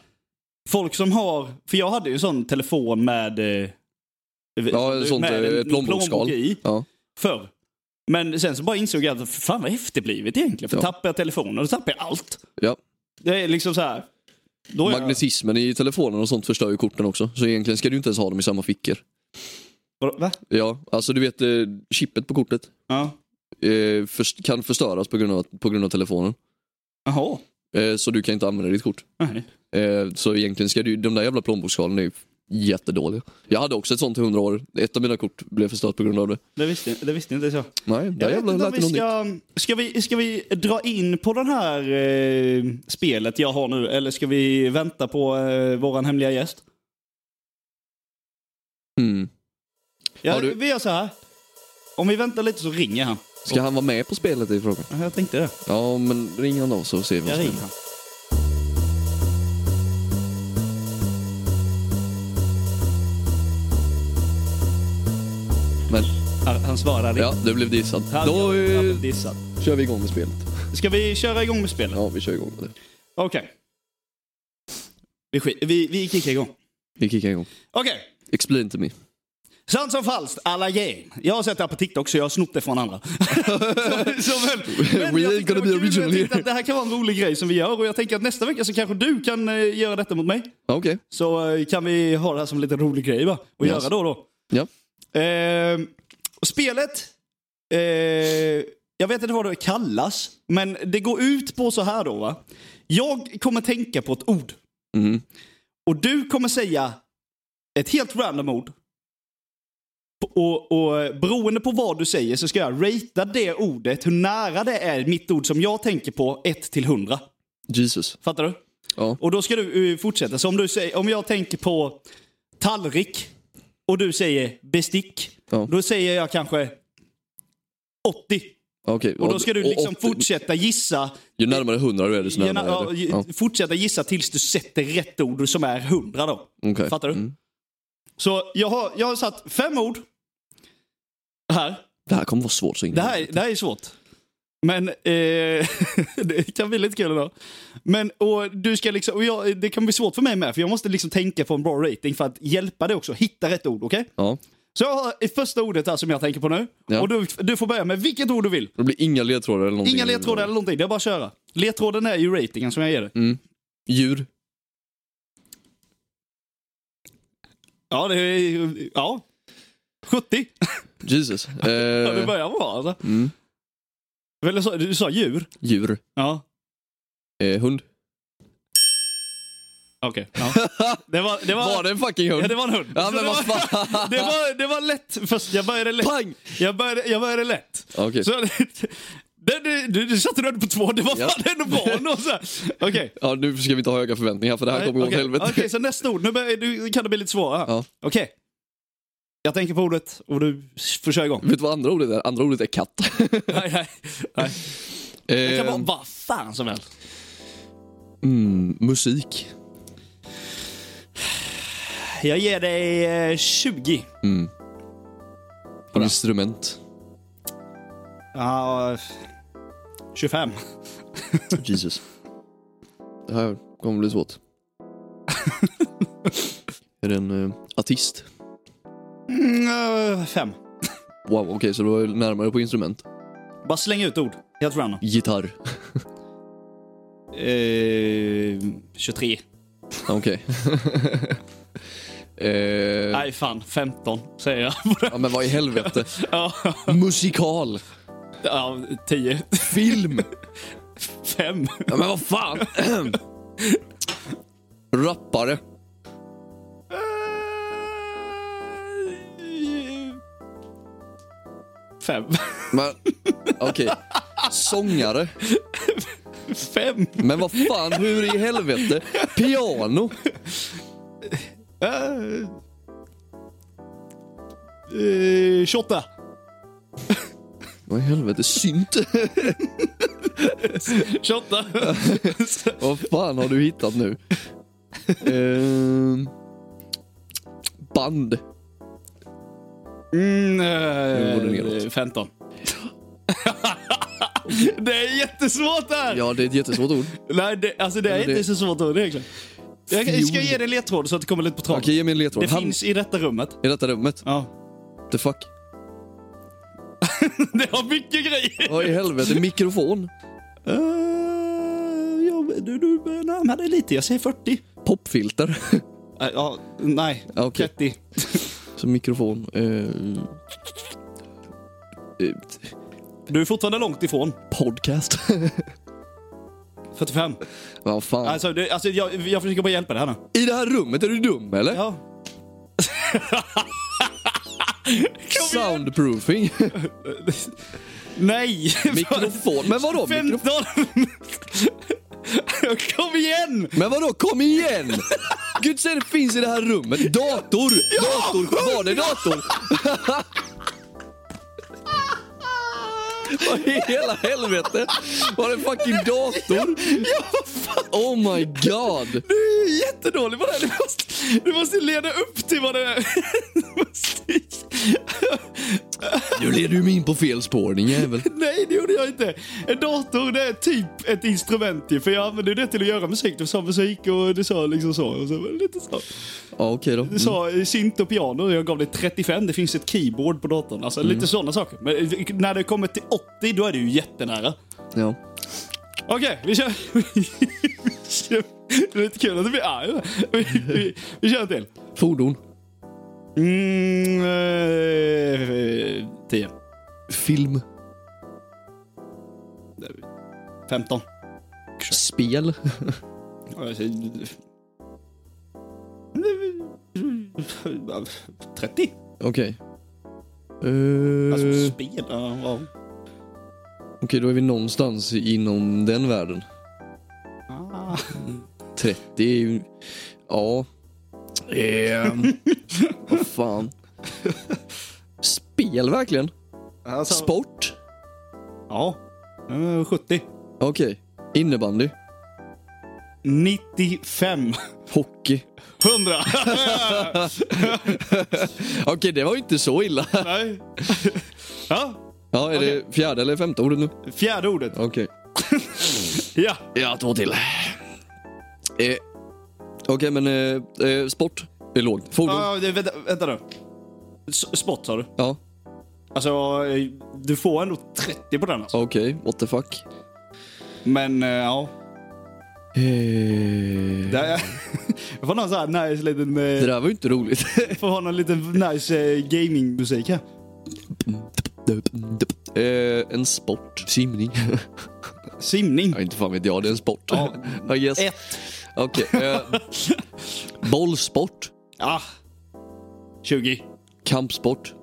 S2: Folk som har, för jag hade ju en sån telefon med... eh,
S1: Ja, ett sånt
S2: med
S1: eh,
S2: en
S1: ett plånboksskal.
S2: plånbok i.
S1: Ja.
S2: förr. Men sen så bara insåg jag att fan vad efterblivet egentligen. För
S1: Ja.
S2: tappar jag telefonen, då tappar jag allt.
S1: Ja.
S2: Det är liksom så här. Då är jag...
S1: Magnetismen i telefonen och sånt förstör ju korten också. Så egentligen ska du inte ens ha dem i samma fickor.
S2: Vadå, Va?
S1: Ja, alltså du vet eh, chippet på kortet
S2: Ja.
S1: eh, först- kan förstöras på grund av, på grund av telefonen.
S2: Jaha.
S1: Eh, så du kan inte använda ditt kort.
S2: Nej.
S1: Eh, så egentligen ska du, de där jävla plånboksskalen är ju jättedåliga. Jag hade också ett sånt i 100 år. Ett av mina kort blev förstört på grund av det.
S2: Det visste, det visste inte jag.
S1: Nej,
S2: Jag
S1: där
S2: vet
S1: jävlar lät
S2: inte om
S1: det
S2: vi
S1: något nytt.
S2: ska, ska, vi, ska vi dra in på det här eh, spelet jag har nu eller ska vi vänta på eh, våran hemliga gäst?
S1: Mm.
S2: Ja,
S1: Har du-
S2: Vi gör så här. Om vi väntar lite så ringer han.
S1: Ska han vara med på spelet i frågan?
S2: Ja, Jag tänkte det.
S1: Ja, men ring han då så ser vi vad
S2: Jag
S1: som
S2: ringer
S1: händer.
S2: han.
S1: Men
S2: Han- Han svarar
S1: ja, du blev dissad.
S2: Han,
S1: Då
S2: jag, jag blev
S1: eh,
S2: dissad.
S1: kör vi igång med spelet.
S2: Ska vi köra igång med spelet?
S1: Ja, vi kör igång med det.
S2: Okej. Vi, skit- vi, vi kickar igång.
S1: Vi kickar igång.
S2: Okej.
S1: Explain to me.
S2: Sant som falskt, alla game. Jag har sett det här på TikTok så jag har snott det från andra. så, så väl. Men
S1: We
S2: jag
S1: ain't
S2: tyckte det
S1: gonna be
S2: var kul,
S1: original
S2: jag tyckte
S1: here.
S2: att Det här kan vara en rolig grej som vi gör och jag tänker att nästa vecka så kanske du kan eh, göra detta mot mig.
S1: Ja, Okej,
S2: Så eh, kan vi ha det här som en liten rolig grej va? Och
S1: Yes.
S2: göra då och då.
S1: ja.
S2: Eh, och spelet, eh, jag vet inte vad det kallas, men det går ut på så här då. Va? Jag kommer tänka på ett ord.
S1: Mm.
S2: Och du kommer säga ett helt random ord. Och, och eh, beroende på vad du säger så ska jag ratea det ordet, hur nära det är mitt ord som jag tänker på, 1 till 100.
S1: Jesus.
S2: Fattar du?
S1: Ja.
S2: Och då ska du eh, fortsätta. Så om, du säger, om jag tänker på tallrik och du säger bestick.
S1: Ja.
S2: Då säger jag kanske 80.
S1: Okej.
S2: Och då ska du liksom
S1: och-
S2: fortsätta gissa.
S1: Ju närmare 100 du är desto
S2: Gärna,
S1: närmare
S2: ja,
S1: är du.
S2: ju-
S1: Ja.
S2: Fortsätta gissa tills du sätter rätt ord som är 100 då.
S1: okej.
S2: Fattar du?
S1: Mm.
S2: Så jag har, jag har satt fem ord. Här.
S1: Det här kommer vara svårt så in i
S2: Det här, det här är svårt. Men eh, det kan bli lite kul idag. Men och du ska liksom, och jag, det kan bli svårt för mig med för jag måste liksom tänka på en bra rating för att hjälpa dig också. Hitta rätt ord, okej?
S1: Ja.
S2: Så jag har det första ordet här som jag tänker på nu.
S1: Ja.
S2: Och du, du får börja med vilket ord du vill.
S1: Det blir inga ledtrådar eller någonting.
S2: Inga ledtrådar eller någonting, det är bara att köra. Ledtråden är ju ratingen som jag ger dig.
S1: Djur.
S2: Ja, det är... Ja. 70.
S1: Jesus.
S2: Ja, det
S1: Eh,
S2: börjar bra alltså.
S1: Mm.
S2: Eller så, du sa djur.
S1: djur.
S2: Ja.
S1: Eh, hund.
S2: Okej. Ja. Det, var, det, var,
S1: Var det en fucking hund?
S2: ja, det var en hund.
S1: Ja,
S2: Så
S1: men
S2: det,
S1: vad
S2: var,
S1: fan.
S2: det, var, det var lätt. Först, jag började lätt.
S1: Pang!
S2: Jag började, jag började lätt.
S1: Okej.
S2: Så, det, det, du, du satte röd på två. Det var
S1: Ja.
S2: fan ändå bra ändå. så här. Okej.
S1: Ja, nu ska vi inte ha höga förväntningar för det här kommer gå åt
S2: Okej.
S1: helvete.
S2: Okej, så nästa ord. Nu börjar, du, kan det bli lite svårare.
S1: Ja.
S2: Okej. Jag tänker på ordet och du får köra igång.
S1: Vet du vad andra ordet är? Andra ordet är katt.
S2: nej, nej, nej. Det kan vara
S1: eh,
S2: vad fan som helst.
S1: mm, musik.
S2: Jag ger dig eh, 20.
S1: Instrument.
S2: Ja, 25.
S1: Jesus. Det här kommer bli svårt. är det en eh, artist?
S2: Mm, 5.
S1: Wow, okej så du var ju närmare på instrument.
S2: Bara släng ut ord. Helt random.
S1: Gitarr.
S2: Eh, 23.
S1: Ah, Okej. eh,
S2: Nej, fan. 15 säger jag.
S1: ja, men vad i helvete.
S2: ja,
S1: Musikal.
S2: ja, 10.
S1: Film.
S2: 5.
S1: Ja, men vad fan. Rappare.
S2: Fem.
S1: Men okej. Sångare.
S2: Fem.
S1: Men vad fan, hur i helvete? Piano.
S2: Eh, eh, 28.
S1: Vad i helvete, synt?
S2: 28.
S1: Vad fan har du hittat nu? Ehm, band.
S2: Mm,
S1: går det
S2: eh,
S1: neråt.
S2: 15. det är jättesvårt det här!
S1: Ja, det är ett jättesvårt ord.
S2: Nej, det, alltså det är
S1: men det-
S2: inte så svårt att egentligen. Jag jag ska
S1: Fjol.
S2: ge dig en ledtråd så att du kommer lite på traven.
S1: Okej, ge mig en ledtråd.
S2: det
S1: Han
S2: finns i detta rummet.
S1: i detta rummet.
S2: Ja.
S1: The fuck?
S2: det har mycket grejer.
S1: Vad i helvete, mikrofon?
S2: Eh, ja, men du, du börjar närma dig lite. Jag säger 40.
S1: Popfilter?
S2: Eh, ja, nej,
S1: Ja, okej.
S2: 30.
S1: Så mikrofon. ehm, eh,
S2: Du är fortfarande långt ifrån.
S1: podcast?
S2: 45.
S1: Vad fan.
S2: Alltså, det, alltså jag, jag försöker bara hjälpa dig här nu.
S1: I det här rummet, är du dum eller?
S2: Ja.
S1: Soundproofing?
S2: Nej!
S1: Mikrofon. Men vadå,
S2: 15! Kom igen!
S1: Men vadå, kom igen! Gud säger det finns i det här rummet. Dator! Dator! Var det dator? Vad i hela helvete? Var det en fucking dator? Oh my god!
S2: Du är jättedålig på det här. Du måste, du måste leda upp till vad det är. Du måste-
S1: Nu leder du mig in på fel spår din jävel.
S2: Nej, det gjorde jag inte. En dator det är typ ett instrument ju, för jag använde det till att göra musik. Du sa musik och du sa liksom så. Och så var det lite så.
S1: Ja okej då.
S2: Du sa eh, synt och piano och jag gav dig 35. Det finns ett keyboard på datorn. Alltså lite sådana saker. Men eh, när det kommer till 80 då är du ju jättenära.
S1: Mm, Ja.
S2: Okej, vi kör. vi kör. Det är lite kul att du blir arg. Vi, vi, vi kör en till.
S1: Fordon.
S2: Mm, eh, 10.
S1: Film.
S2: 15.
S1: Spel.
S2: Ja, jag säger- 30?
S1: Okej. Eh,
S2: Alltså spel? Ja, ja.
S1: Okej, då är vi någonstans inom den världen.
S2: Ah.
S1: 30 är ju... Ja. Ehm. Vad fan. Spel verkligen?
S2: Alltså-
S1: Alltså- Sport?
S2: Ja. Eh, 70.
S1: Okej. Innebandy?
S2: 95.
S1: Hockey?
S2: 100.
S1: Okej, det var ju inte så illa.
S2: Nej. Ja,
S1: Ja, är det fjärde eller femte ordet nu?
S2: fjärde ordet.
S1: Okej.
S2: Ja.
S1: Ja, två till. Eh, Okej, Eh, men eh, eh, sport är lågt. Fordon?
S2: Ja, det- vänta, vänta nu. S- Sport sa du?
S1: Ja.
S2: Alltså, eh, du får ändå 30 på den alltså.
S1: Okej, what the fuck.
S2: Men eh, ja.
S1: Eh,
S2: Det är... Jag får någon sån här nice liten...
S1: det
S2: eh,
S1: där var ju inte roligt.
S2: Får ha någon liten nice eh, gamingmusik här.
S1: Eh, en sport. Simning.
S2: Simning.
S1: Ja, inte fan vet jag. Det är en sport.
S2: Ja.
S1: I guess.
S2: Ett.
S1: Okej. eh, bollsport.
S2: Ah. 20.
S1: Kampsport.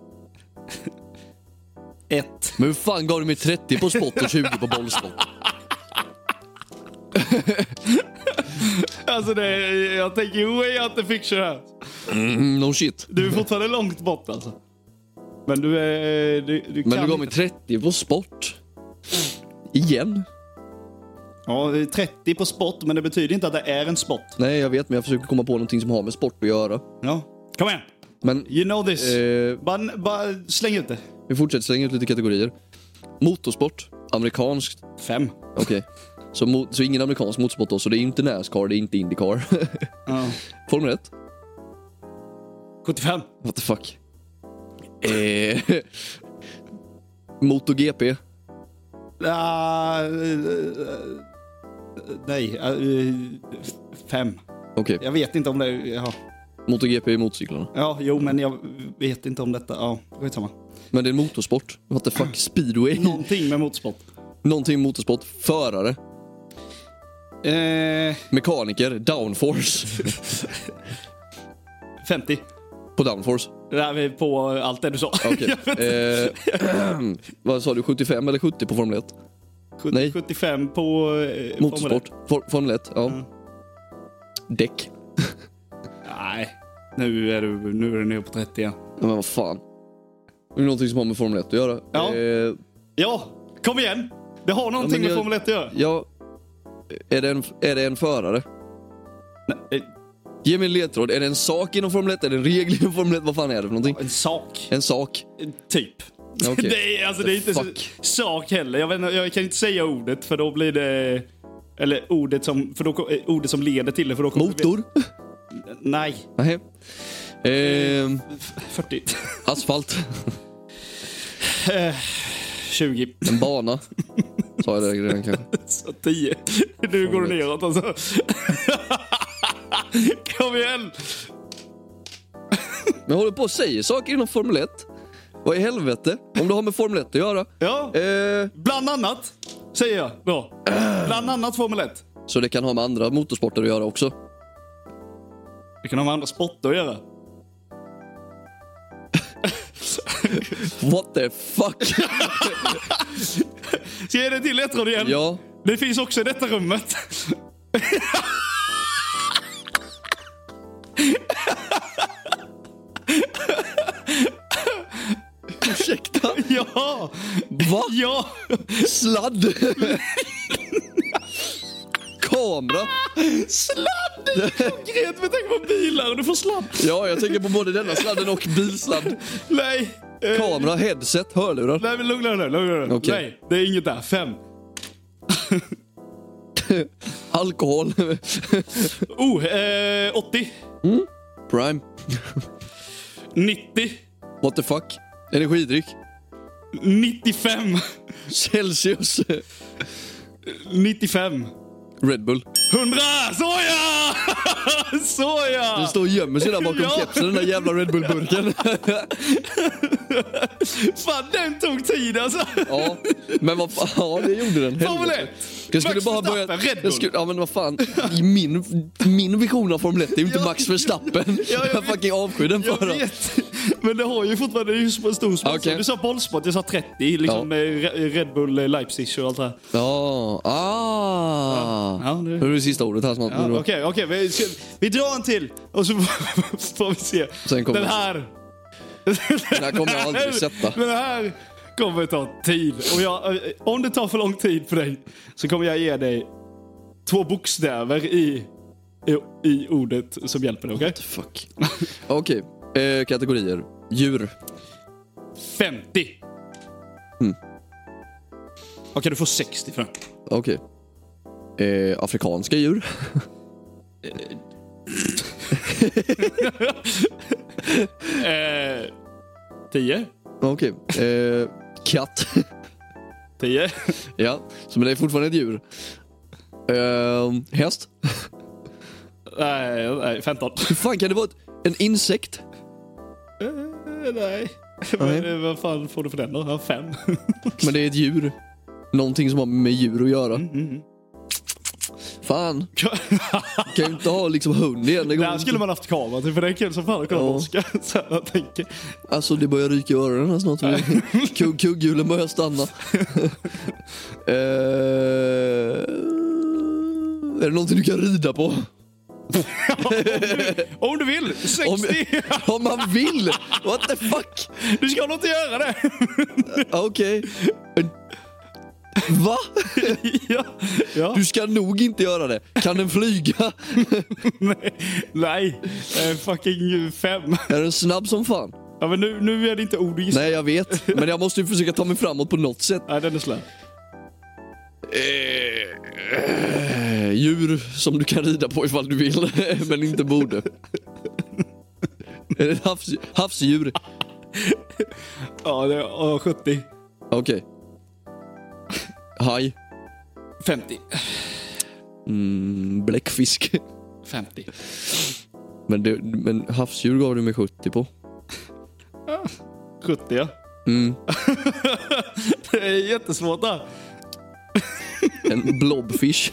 S2: Ett.
S1: Men hur fan gav du mig 30 på sport och 20 på bollsport?
S2: Alltså det är, jag tänker way out the picture här.
S1: Mm, no shit.
S2: Du är fortfarande långt bort alltså. Men du är... Du, du
S1: Men
S2: kan
S1: du gav mig
S2: inte-
S1: 30 på sport. Igen?
S2: Ja, det är 30 på sport, men det betyder inte att det är en sport.
S1: Nej, jag vet, men jag försöker komma på någonting som har med sport att göra.
S2: Ja. Kom igen!
S1: Men
S2: You know this.
S1: eh,
S2: Bara, bara släng ut det.
S1: vi fortsätter slänga ut lite kategorier. Motorsport. Amerikanskt.
S2: Fem.
S1: Okej. Så, mo- så ingen amerikansk motorsport då, så det är inte Nascar, det är inte Indycar.
S2: Ja.
S1: Formel 1.
S2: 75.
S1: What the fuck? Eh, MotoGP.
S2: Ah, eh, eh, nej, eh, eh, fem.
S1: Okej,
S2: Jag vet inte om det... Ja.
S1: MotoGP är motorcyklarna.
S2: ja, jo, men jag vet inte om detta. Ja, skitsamma.
S1: Men det är motorsport. What the fuck? Speedway?
S2: Någonting med motorsport.
S1: Någonting motorsport. Förare.
S2: Eh,
S1: Mekaniker. Downforce.
S2: 50.
S1: På downforce.
S2: Det här är på allt det du sa.
S1: Okej.
S2: Jag vet inte.
S1: Eh, vad sa du? 75 eller 70 på Formel 1?
S2: Sjut-
S1: nej.
S2: 75 på... Eh,
S1: Motorsport.
S2: Formel
S1: For, Formel 1, ja.
S2: Mm.
S1: Däck.
S2: ett. Nej. Nu är du, nu är du nere på 30 igen.
S1: Ja, men vad fan. Det är någonting som har med Formel 1 att göra.
S2: Ja.
S1: Eh,
S2: Ja, kom igen! Det har någonting
S1: men
S2: med
S1: jag-
S2: Formel 1 att göra.
S1: ja. Är, det en, är det en förare?
S2: Eh,
S1: Ge mig en ledtråd. Är det en sak inom Formel 1? Är det en regel inom Formel 1? Vad fan är det för någonting?
S2: En sak.
S1: En sak.
S2: Eh, Typ.
S1: Okej.
S2: Det, är, alltså, det är inte så,
S1: Fuck.
S2: sak heller. Jag, vet, inte- jag kan inte säga ordet för då blir det... Eller ordet som, för då, ko- eh, ordet som leder till det. För då kommer
S1: Motor?
S2: Vi, nej.
S1: Nej. Ehm,
S2: 40.
S1: asfalt.
S2: 20.
S1: En bana. Sa jag det redan kanske?
S2: Så 10. Nu går det neråt alltså. Kom igen!
S1: Men jag håller på och säger saker inom Formel 1. Vad i helvete? Om det har med Formel 1 att göra.
S2: Ja,
S1: Eh,
S2: bland annat. Säger jag då. Bland annat Formel 1.
S1: så det kan ha med andra motorsporter att göra också.
S2: Det kan ha med andra sporter att göra.
S1: What the fuck?
S2: Ska jag ge dig till ledtråd igen?
S1: ja.
S2: Det finns också i detta rummet.
S1: Ursäkta?
S2: Ja!
S1: Va?
S2: Ja!
S1: Sladd? Kamera?
S2: Sladd! Konkret med tanke på bilar. Du får sladd.
S1: Ja, jag tänker på både denna sladden och bilsladd.
S2: Nej. eh,
S1: Kamera, headset, hörlurar.
S2: Nej men lugna dig nu, lugna dig nu.
S1: Okej.
S2: Nej, det är inget där. Fem.
S1: Alkohol.
S2: Oh, eh, 80.
S1: Prime.
S2: 90.
S1: What the fuck? Energidryck.
S2: 95.
S1: Celsius.
S2: 95.
S1: Red Bull.
S2: 100! Såja! Såja!
S1: Du står och gömmer sig där bakom
S2: Ja.
S1: kepsen, den där jävla Red Bull-burken.
S2: Fan, den tog tid alltså.
S1: ja, men vad fan, ja det gjorde den.
S2: Formel
S1: Helvete.
S2: 1.
S1: Jag skulle
S2: Max
S1: bara börja...
S2: Verstappen, Red Bull.
S1: Jag skulle, ja men vad fan, i min, min vision av Formel 1 det är ju inte
S2: Ja.
S1: Max Verstappen.
S2: jag
S1: jag
S2: vet.
S1: fucking avskyr den
S2: Jag
S1: föraren.
S2: vet. Men det har ju fortfarande det är ju en stor sponsor.
S1: Okej.
S2: Du sa bollsport, jag sa 30. Liksom
S1: Ja.
S2: eh, Re- Red Bull eh, Leipzig och allt det här.
S1: Ja, ah.
S2: Ja,
S1: det
S2: det-
S1: är det sista ordet här som
S2: Ja,
S1: ja,
S2: Okej, okej. vi, ska- vi drar en till och så får vi se.
S1: Sen kommer-
S2: den här.
S1: Den här kommer jag aldrig sätta.
S2: Den här kommer ta tid. Och jag, eh, om det tar för lång tid för dig så kommer jag ge dig två bokstäver i, i, i ordet som hjälper dig. Okej?
S1: Fuck. Okej, eh, kategorier. Djur.
S2: 50. Okej,
S1: Mm.
S2: du får 60 för den.
S1: Okej. Eh, afrikanska djur.
S2: Eh, 10.
S1: Okej. Eh, katt.
S2: 10.
S1: ja, så men det är fortfarande ett djur. Ehm, häst.
S2: Nej, nej, 15.
S1: Hur fan kan det vara ett, en insekt?
S2: Eh, Nej. Men, eh, vad fan får du för den då? Ja, fem.
S1: Men det är ett djur. Någonting som har med djur att göra. Fan, kan ju inte ha liksom hund igen. Det går
S2: Där
S1: inte.
S2: skulle man haft kamera till för den killen som fan har kollat
S1: Ja.
S2: på Oscar. Så här, jag tänker.
S1: Alltså det börjar ryka i öronen här snart. Kugg, kugghjulen börjar stanna. eh, är det någonting du kan rida på?
S2: Om du vill! 60!
S1: Om, om man vill! What the fuck? Ah,
S2: Du ska nog inte göra det!
S1: Okej. Va?
S2: ja. Ja.
S1: Du ska nog inte göra det. Kan den flyga?
S2: Nej. Nej. Eh, fucking fem.
S1: Är den snabb som fan?
S2: Ja, men nu, nu är det inte ord Nej.
S1: Nej, jag vet. Men jag måste ju försöka ta mig framåt på något sätt.
S2: Nej, den är slö.
S1: Eh, Djur som du kan rida på ifall du vill, men inte borde. Är det ett havs, havsdjur?
S2: Ja, det är ja, 70.
S1: Okej. Haj.
S2: 50.
S1: Mm, bläckfisk.
S2: 50.
S1: Men, det, men havsdjur gav du mig 70 på.
S2: 70 ja. Mm. det är jättesvårt där.
S1: En blobfish.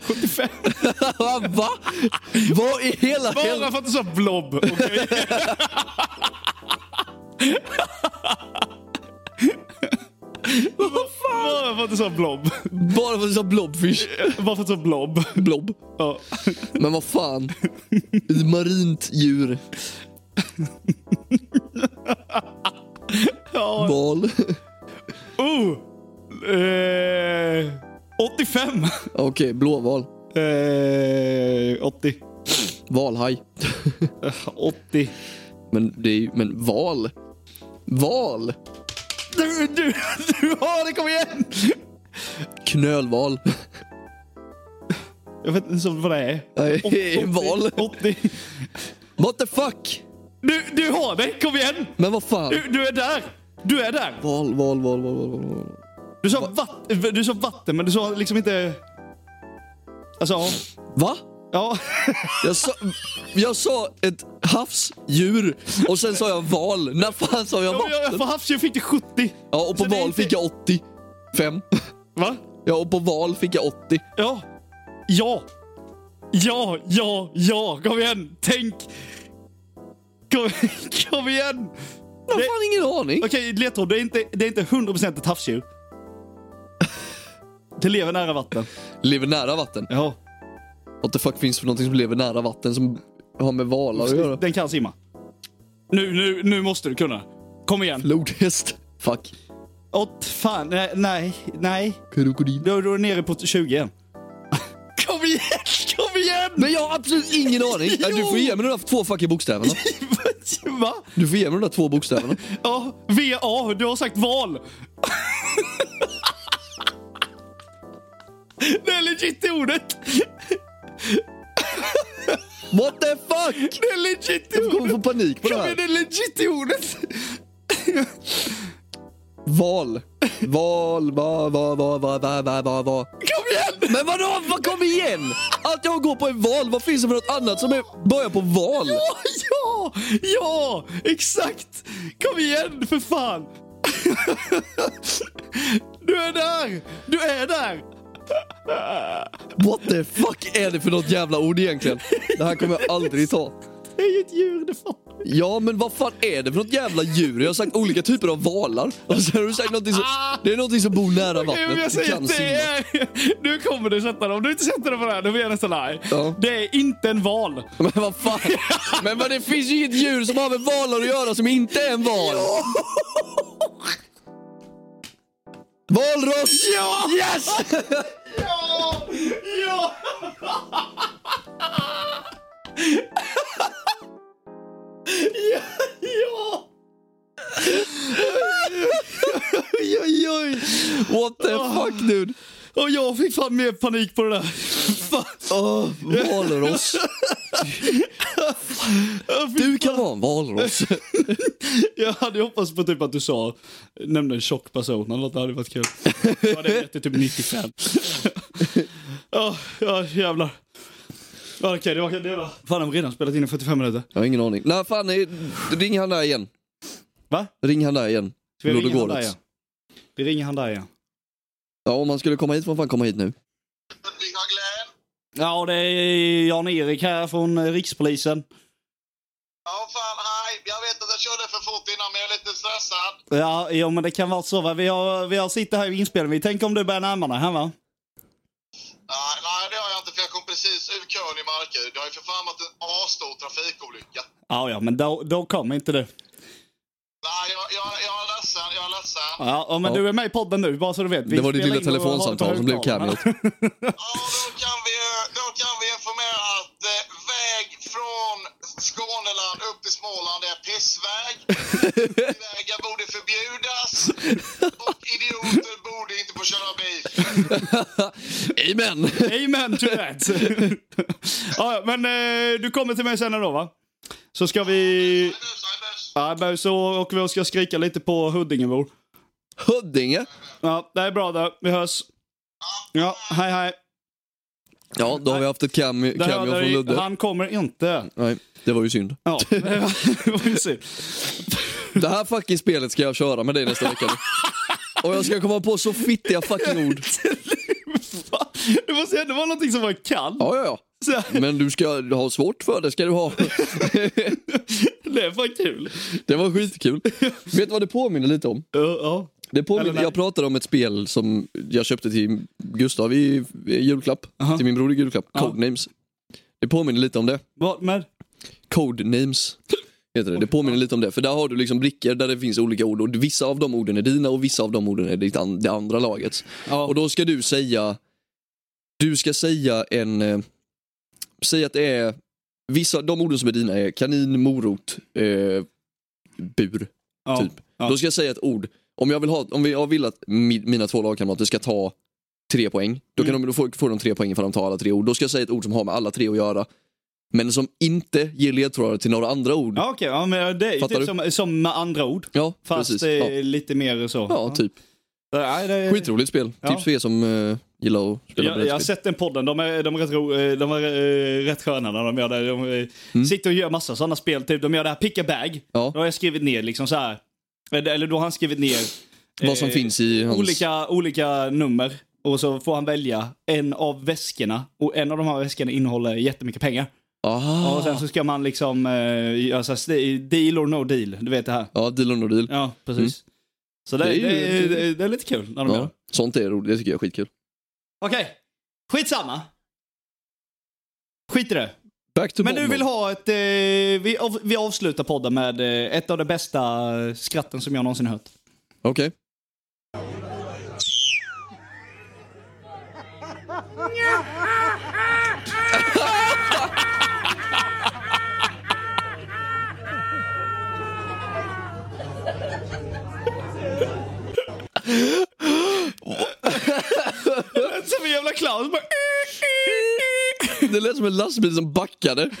S2: 75.
S1: Va? Vad i hela
S2: Bara
S1: helvete?
S2: för att du sa blob. okej? Vad fan? Bara för att du sa blob.
S1: Bara för att du sa blobfish.
S2: Bara för att du sa blob.
S1: Blob.
S2: Ja.
S1: Men vad fan. Ett marint djur.
S2: ja.
S1: Val.
S2: Oh! Eh, 85!
S1: Okej, blåval.
S2: Eh, 80.
S1: Valhaj.
S2: Eh, 80.
S1: Men det är ju, men val. Val.
S2: Du, du, du har det, kom igen!
S1: Knölval.
S2: Jag vet inte ens vad det är.
S1: Nej, val.
S2: 80.
S1: What the fuck?
S2: Du, du har det, kom igen!
S1: Men vad fan.
S2: Du, du är där! Du är där!
S1: Val, val, val, val, val, val. val.
S2: Du sa, vatt, du sa vatten, men du sa liksom inte... Alltså,
S1: Va?
S2: ja.
S1: Jag sa, jag sa ett havsdjur och sen sa jag val. När fan sa jag
S2: ja. Jag,
S1: vatten?
S2: för havsdjur fick det 70.
S1: Ja, och på
S2: Så det är
S1: val
S2: inte-
S1: fick jag 80. Fem.
S2: Va?
S1: Ja, och på val fick jag 80.
S2: Ja. Ja. Ja, ja, ja. Kom igen. Tänk. Kom, kom igen.
S1: Jag har
S2: Det-
S1: fan ingen aning.
S2: Okej, ledtråd. Det är inte, det är inte 100% ett havsdjur. Det lever nära vatten.
S1: Lever nära vatten.
S2: Ja.
S1: What the fuck finns för någonting som lever nära vatten som har med valar att göra?
S2: Den kan simma. Nu, nu, nu måste du kunna. Kom igen.
S1: Flodhäst. Fuck.
S2: Åt fan. Nej, nej, nej.
S1: Krokodil.
S2: Då då är du nere på 20 igen. Kom igen, kom igen!
S1: Men jag har absolut ingen aning. Ja, Du får ge mig de där två fucking bokstäverna.
S2: Va?
S1: Du får ge mig de där två bokstäverna.
S2: Ja, VA. Du har sagt val. Det är legit det ordet.
S1: What the fuck!
S2: Det är legit det
S1: Jag kommer få
S2: ordet.
S1: panik på det
S2: Kom igen, det
S1: här.
S2: är legit det ordet.
S1: Val. Val, va, va, va, va, va, va, va, va.
S2: Kom igen!
S1: Men vadå? Vad kom igen! Allt jag går på är val. Vad finns det för något annat som är, börjar på val?
S2: Ja, ja, ja, exakt. Kom igen för fan. Du är där, du är där.
S1: What the fuck är det för något jävla ord egentligen? Det här kommer jag aldrig ta.
S2: Det är ju ett djur det fan.
S1: Ja, men vad fan är det för något jävla djur? Jag har sagt olika typer av valar. Och sen har du sagt någonting som, det är någonting som bor nära
S2: Ah! Okej, men
S1: vattnet.
S2: jag
S1: Det
S2: säger att
S1: kan
S2: det
S1: simma.
S2: är... Nu kommer du sätta dem. Om du inte sätter dem på det här, då blir jag nästan arg.
S1: Ja.
S2: Det är inte en val.
S1: Men vad fan. Men vad, det finns ju inget djur som har med valar att göra som inte är en val. Valross!
S2: Ja!
S1: Yes!
S2: Ja! ja! Ja!
S1: Oj, oj, oj. What the fuck dude?
S2: Och Ah. jag fick fan mer panik på det där. Fan.
S1: Åh, valross.
S2: Jag fick-
S1: Du kan vara en valross.
S2: Jag hade ju hoppats på typ att du sa, nämnde en tjock person eller något, det hade varit kul. Då hade jag gett dig typ 95. Ja, ja jävlar. Ja, Okej, det var det var. Fan, de har redan spelat in i 45 minuter.
S1: Jag har ingen aning. Nej, fan. nej, Ring han där igen.
S2: Va?
S1: Ring han där igen.
S2: Ska vi
S1: Lord
S2: ringa han där
S1: Gorets.
S2: igen? Vi ringer han där igen.
S1: Ja, om han skulle komma hit får han fan komma hit nu.
S2: Ja, det är Jan-Erik här från eh, Rikspolisen.
S7: Ja, fan, hej. Jag vet att jag körde för fort innan, men jag är lite stressad.
S2: Ja, ja men det kan vara så. Va? Vi, har, vi har sitter här i inspelningen. Vi tänker om du börjar närma dig här va?
S7: Nej, nej, det har jag inte, för jag kom precis ur kön i Markaryd. Det har ju för fan varit en asstor trafikolycka.
S2: Ja, ja, men då, då kommer inte du.
S7: Nej, jag, jag, jag är ledsen, jag är ledsen.
S2: Ja, ja, men
S1: Ja.
S2: du är med i podden nu, bara så du vet. Vi
S1: det var ditt
S2: spelar
S1: lilla
S2: in och har det på
S1: telefonsamtal som blev
S2: högtalarna.
S1: cameot.
S7: Ja, då kan vi, ju- då kan vi informera att eh, väg från Skåneland upp till Småland är pissväg. Vägar borde förbjudas. Och idioter borde inte få köra bil.
S1: Amen!
S2: Amen to that! ja, ja, men eh, du kommer till mig sen då va? Så ska vi...
S7: Bus, nej, bus.
S2: Ja, men så åker vi och ska skrika lite på Huddingebor.
S1: Huddinge!
S2: Ja, det är bra där. Vi hörs. Ja, hej hej.
S1: Ja, då har vi haft ett cameo,
S2: Där
S1: cameo
S2: hörde
S1: från
S2: ni.
S1: Ludde.
S2: Han kommer inte.
S1: Nej, det var ju synd.
S2: Ja, det var ju synd.
S1: Det här fucking spelet ska jag köra med dig nästa vecka. Och jag ska komma på så fittiga fucking ord.
S2: Fan, Det måste ju ändå vara någonting som var kall.
S1: Ja, ja, ja.
S2: Så,
S1: Men du ska ha svårt för det, ska du ha.
S2: det är fan kul.
S1: Det var skitkul. Vet du vad det påminner lite om?
S2: Ja, ja.
S1: Det påminner,
S2: Eller nej.
S1: jag pratade om ett spel som jag köpte till Gustav i i julklapp.
S2: Aha.
S1: Till min bror i julklapp. Codenames. Det påminner lite om det.
S2: Vad med?
S1: Codenames heter det. Det påminner lite om det. För där har du liksom brickor där det finns olika ord. Och vissa av de orden är dina och vissa av de orden är ditt an- det andra lagets.
S2: Ja.
S1: Och då ska du säga... Du ska säga en... Eh, säg att det är... Vissa, de orden som är dina är kanin, morot, eh, bur.
S2: ja.
S1: typ.
S2: Ja.
S1: Då ska jag säga ett ord. Om jag vill, ha, om jag vill att mi, mina två lagkamrater ska ta tre poäng, då,
S2: Mm.
S1: kan de, då får, får de tre poäng för att de tar alla tre ord. Då ska jag säga ett ord som har med alla tre att göra, men som inte ger ledtrådar till några andra ord.
S2: Ja, okej. Ja, men det är ju
S1: Fattar
S2: typ
S1: du?
S2: som, som med andra ord.
S1: Ja,
S2: Fast
S1: precis.
S2: eh,
S1: Ja.
S2: lite mer så.
S1: ja, typ.
S2: Nej, det är-
S1: Skitroligt spel.
S2: Eh, Ja.
S1: Tips för er som eh, gillar att spela
S2: Jag, jag har
S1: brädspel.
S2: sett den podden, de är, de är, rätt, ro, eh, de är eh, rätt sköna när de gör det. De eh, sitter och gör massa sådana spel, typ de gör det här pick a bag.
S1: Mm. Ja.
S2: Då har jag skrivit ner liksom så här. Eller eller då har han skrivit ner
S1: Vad som
S2: eh,
S1: finns i hans...
S2: olika, olika nummer. Och så får han välja en av väskorna. Och en av de här väskorna innehåller jättemycket pengar.
S1: Aha.
S2: Och sen så ska man liksom eh, göra så här, st- deal or no deal. Du vet det här.
S1: Ja, deal or no deal.
S2: Ja, precis. Så det,
S1: Mm. Det är
S2: det,
S1: ju-
S2: är, det, är, det är lite kul när de gör
S1: Ja.
S2: det.
S1: Sånt är roligt, det tycker jag är skitkul.
S2: Okej, skitsamma. Skit i det.
S1: Back to
S2: Men du
S1: Bombman.
S2: vill ha ett... Eh, vi, av, vi avslutar podden med eh, ett av de bästa eh, skratten som jag någonsin hört.
S1: Okej.
S2: Som en jävla clown. Bara...
S1: Det lät som en lastbil som backade.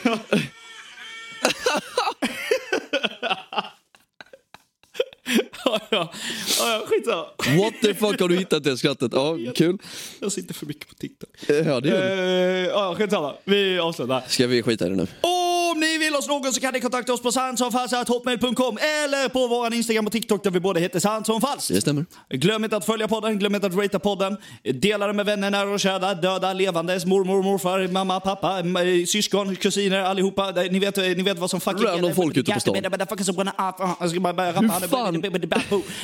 S2: Ja, ja, ja, skitsamma.
S1: What the fuck har du hittat det skrattet? Ja, kul.
S2: Jag sitter för mycket på TikTok.
S1: Ja, det
S2: Eh,
S1: gör du.
S2: ja, skitsamma. Vi avslutar.
S1: Ska vi skita i det nu?
S2: Om ni vill oss något så kan ni kontakta oss på sandsomfalskt.hotmail.com eller på vår Instagram och TikTok där vi båda heter sandsomfalskt.
S1: Det stämmer.
S2: Glöm inte att följa podden, glöm inte att ratea podden. Dela den med vänner, nära och kära, döda, levandes, mormor, morfar, mamma, pappa, m- eh, syskon, kusiner, allihopa. Eh, Ni vet, eh, ni vet vad som fucking
S1: Random folk ute på stan.
S2: Ah, Hur
S1: fan?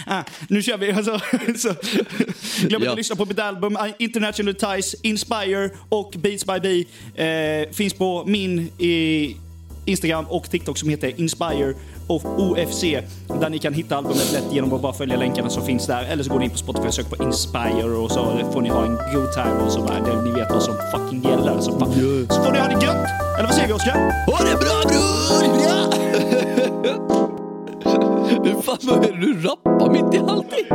S2: Ah, Nu kör vi. Alltså, så. Glöm inte
S1: Ja.
S2: att lyssna på mitt album eh, International Ties, Inspire och Beats by Bee. Eh, finns på min eh, Instagram och TikTok som heter Inspire och OFC. Där ni kan hitta albumet lätt genom att bara följa länkarna som finns där. Eller så går ni in på Spotify och söker på Inspire och så får ni ha en god time och så där. Där Ni vet vad som fucking gäller. Så, fan. så får ni ha det gött! Eller vad säger vi Oskar?
S1: Ha det bra bror! Ja! Hur fan började du rappa mitt i allting?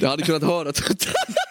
S1: Jag hade kunnat höra...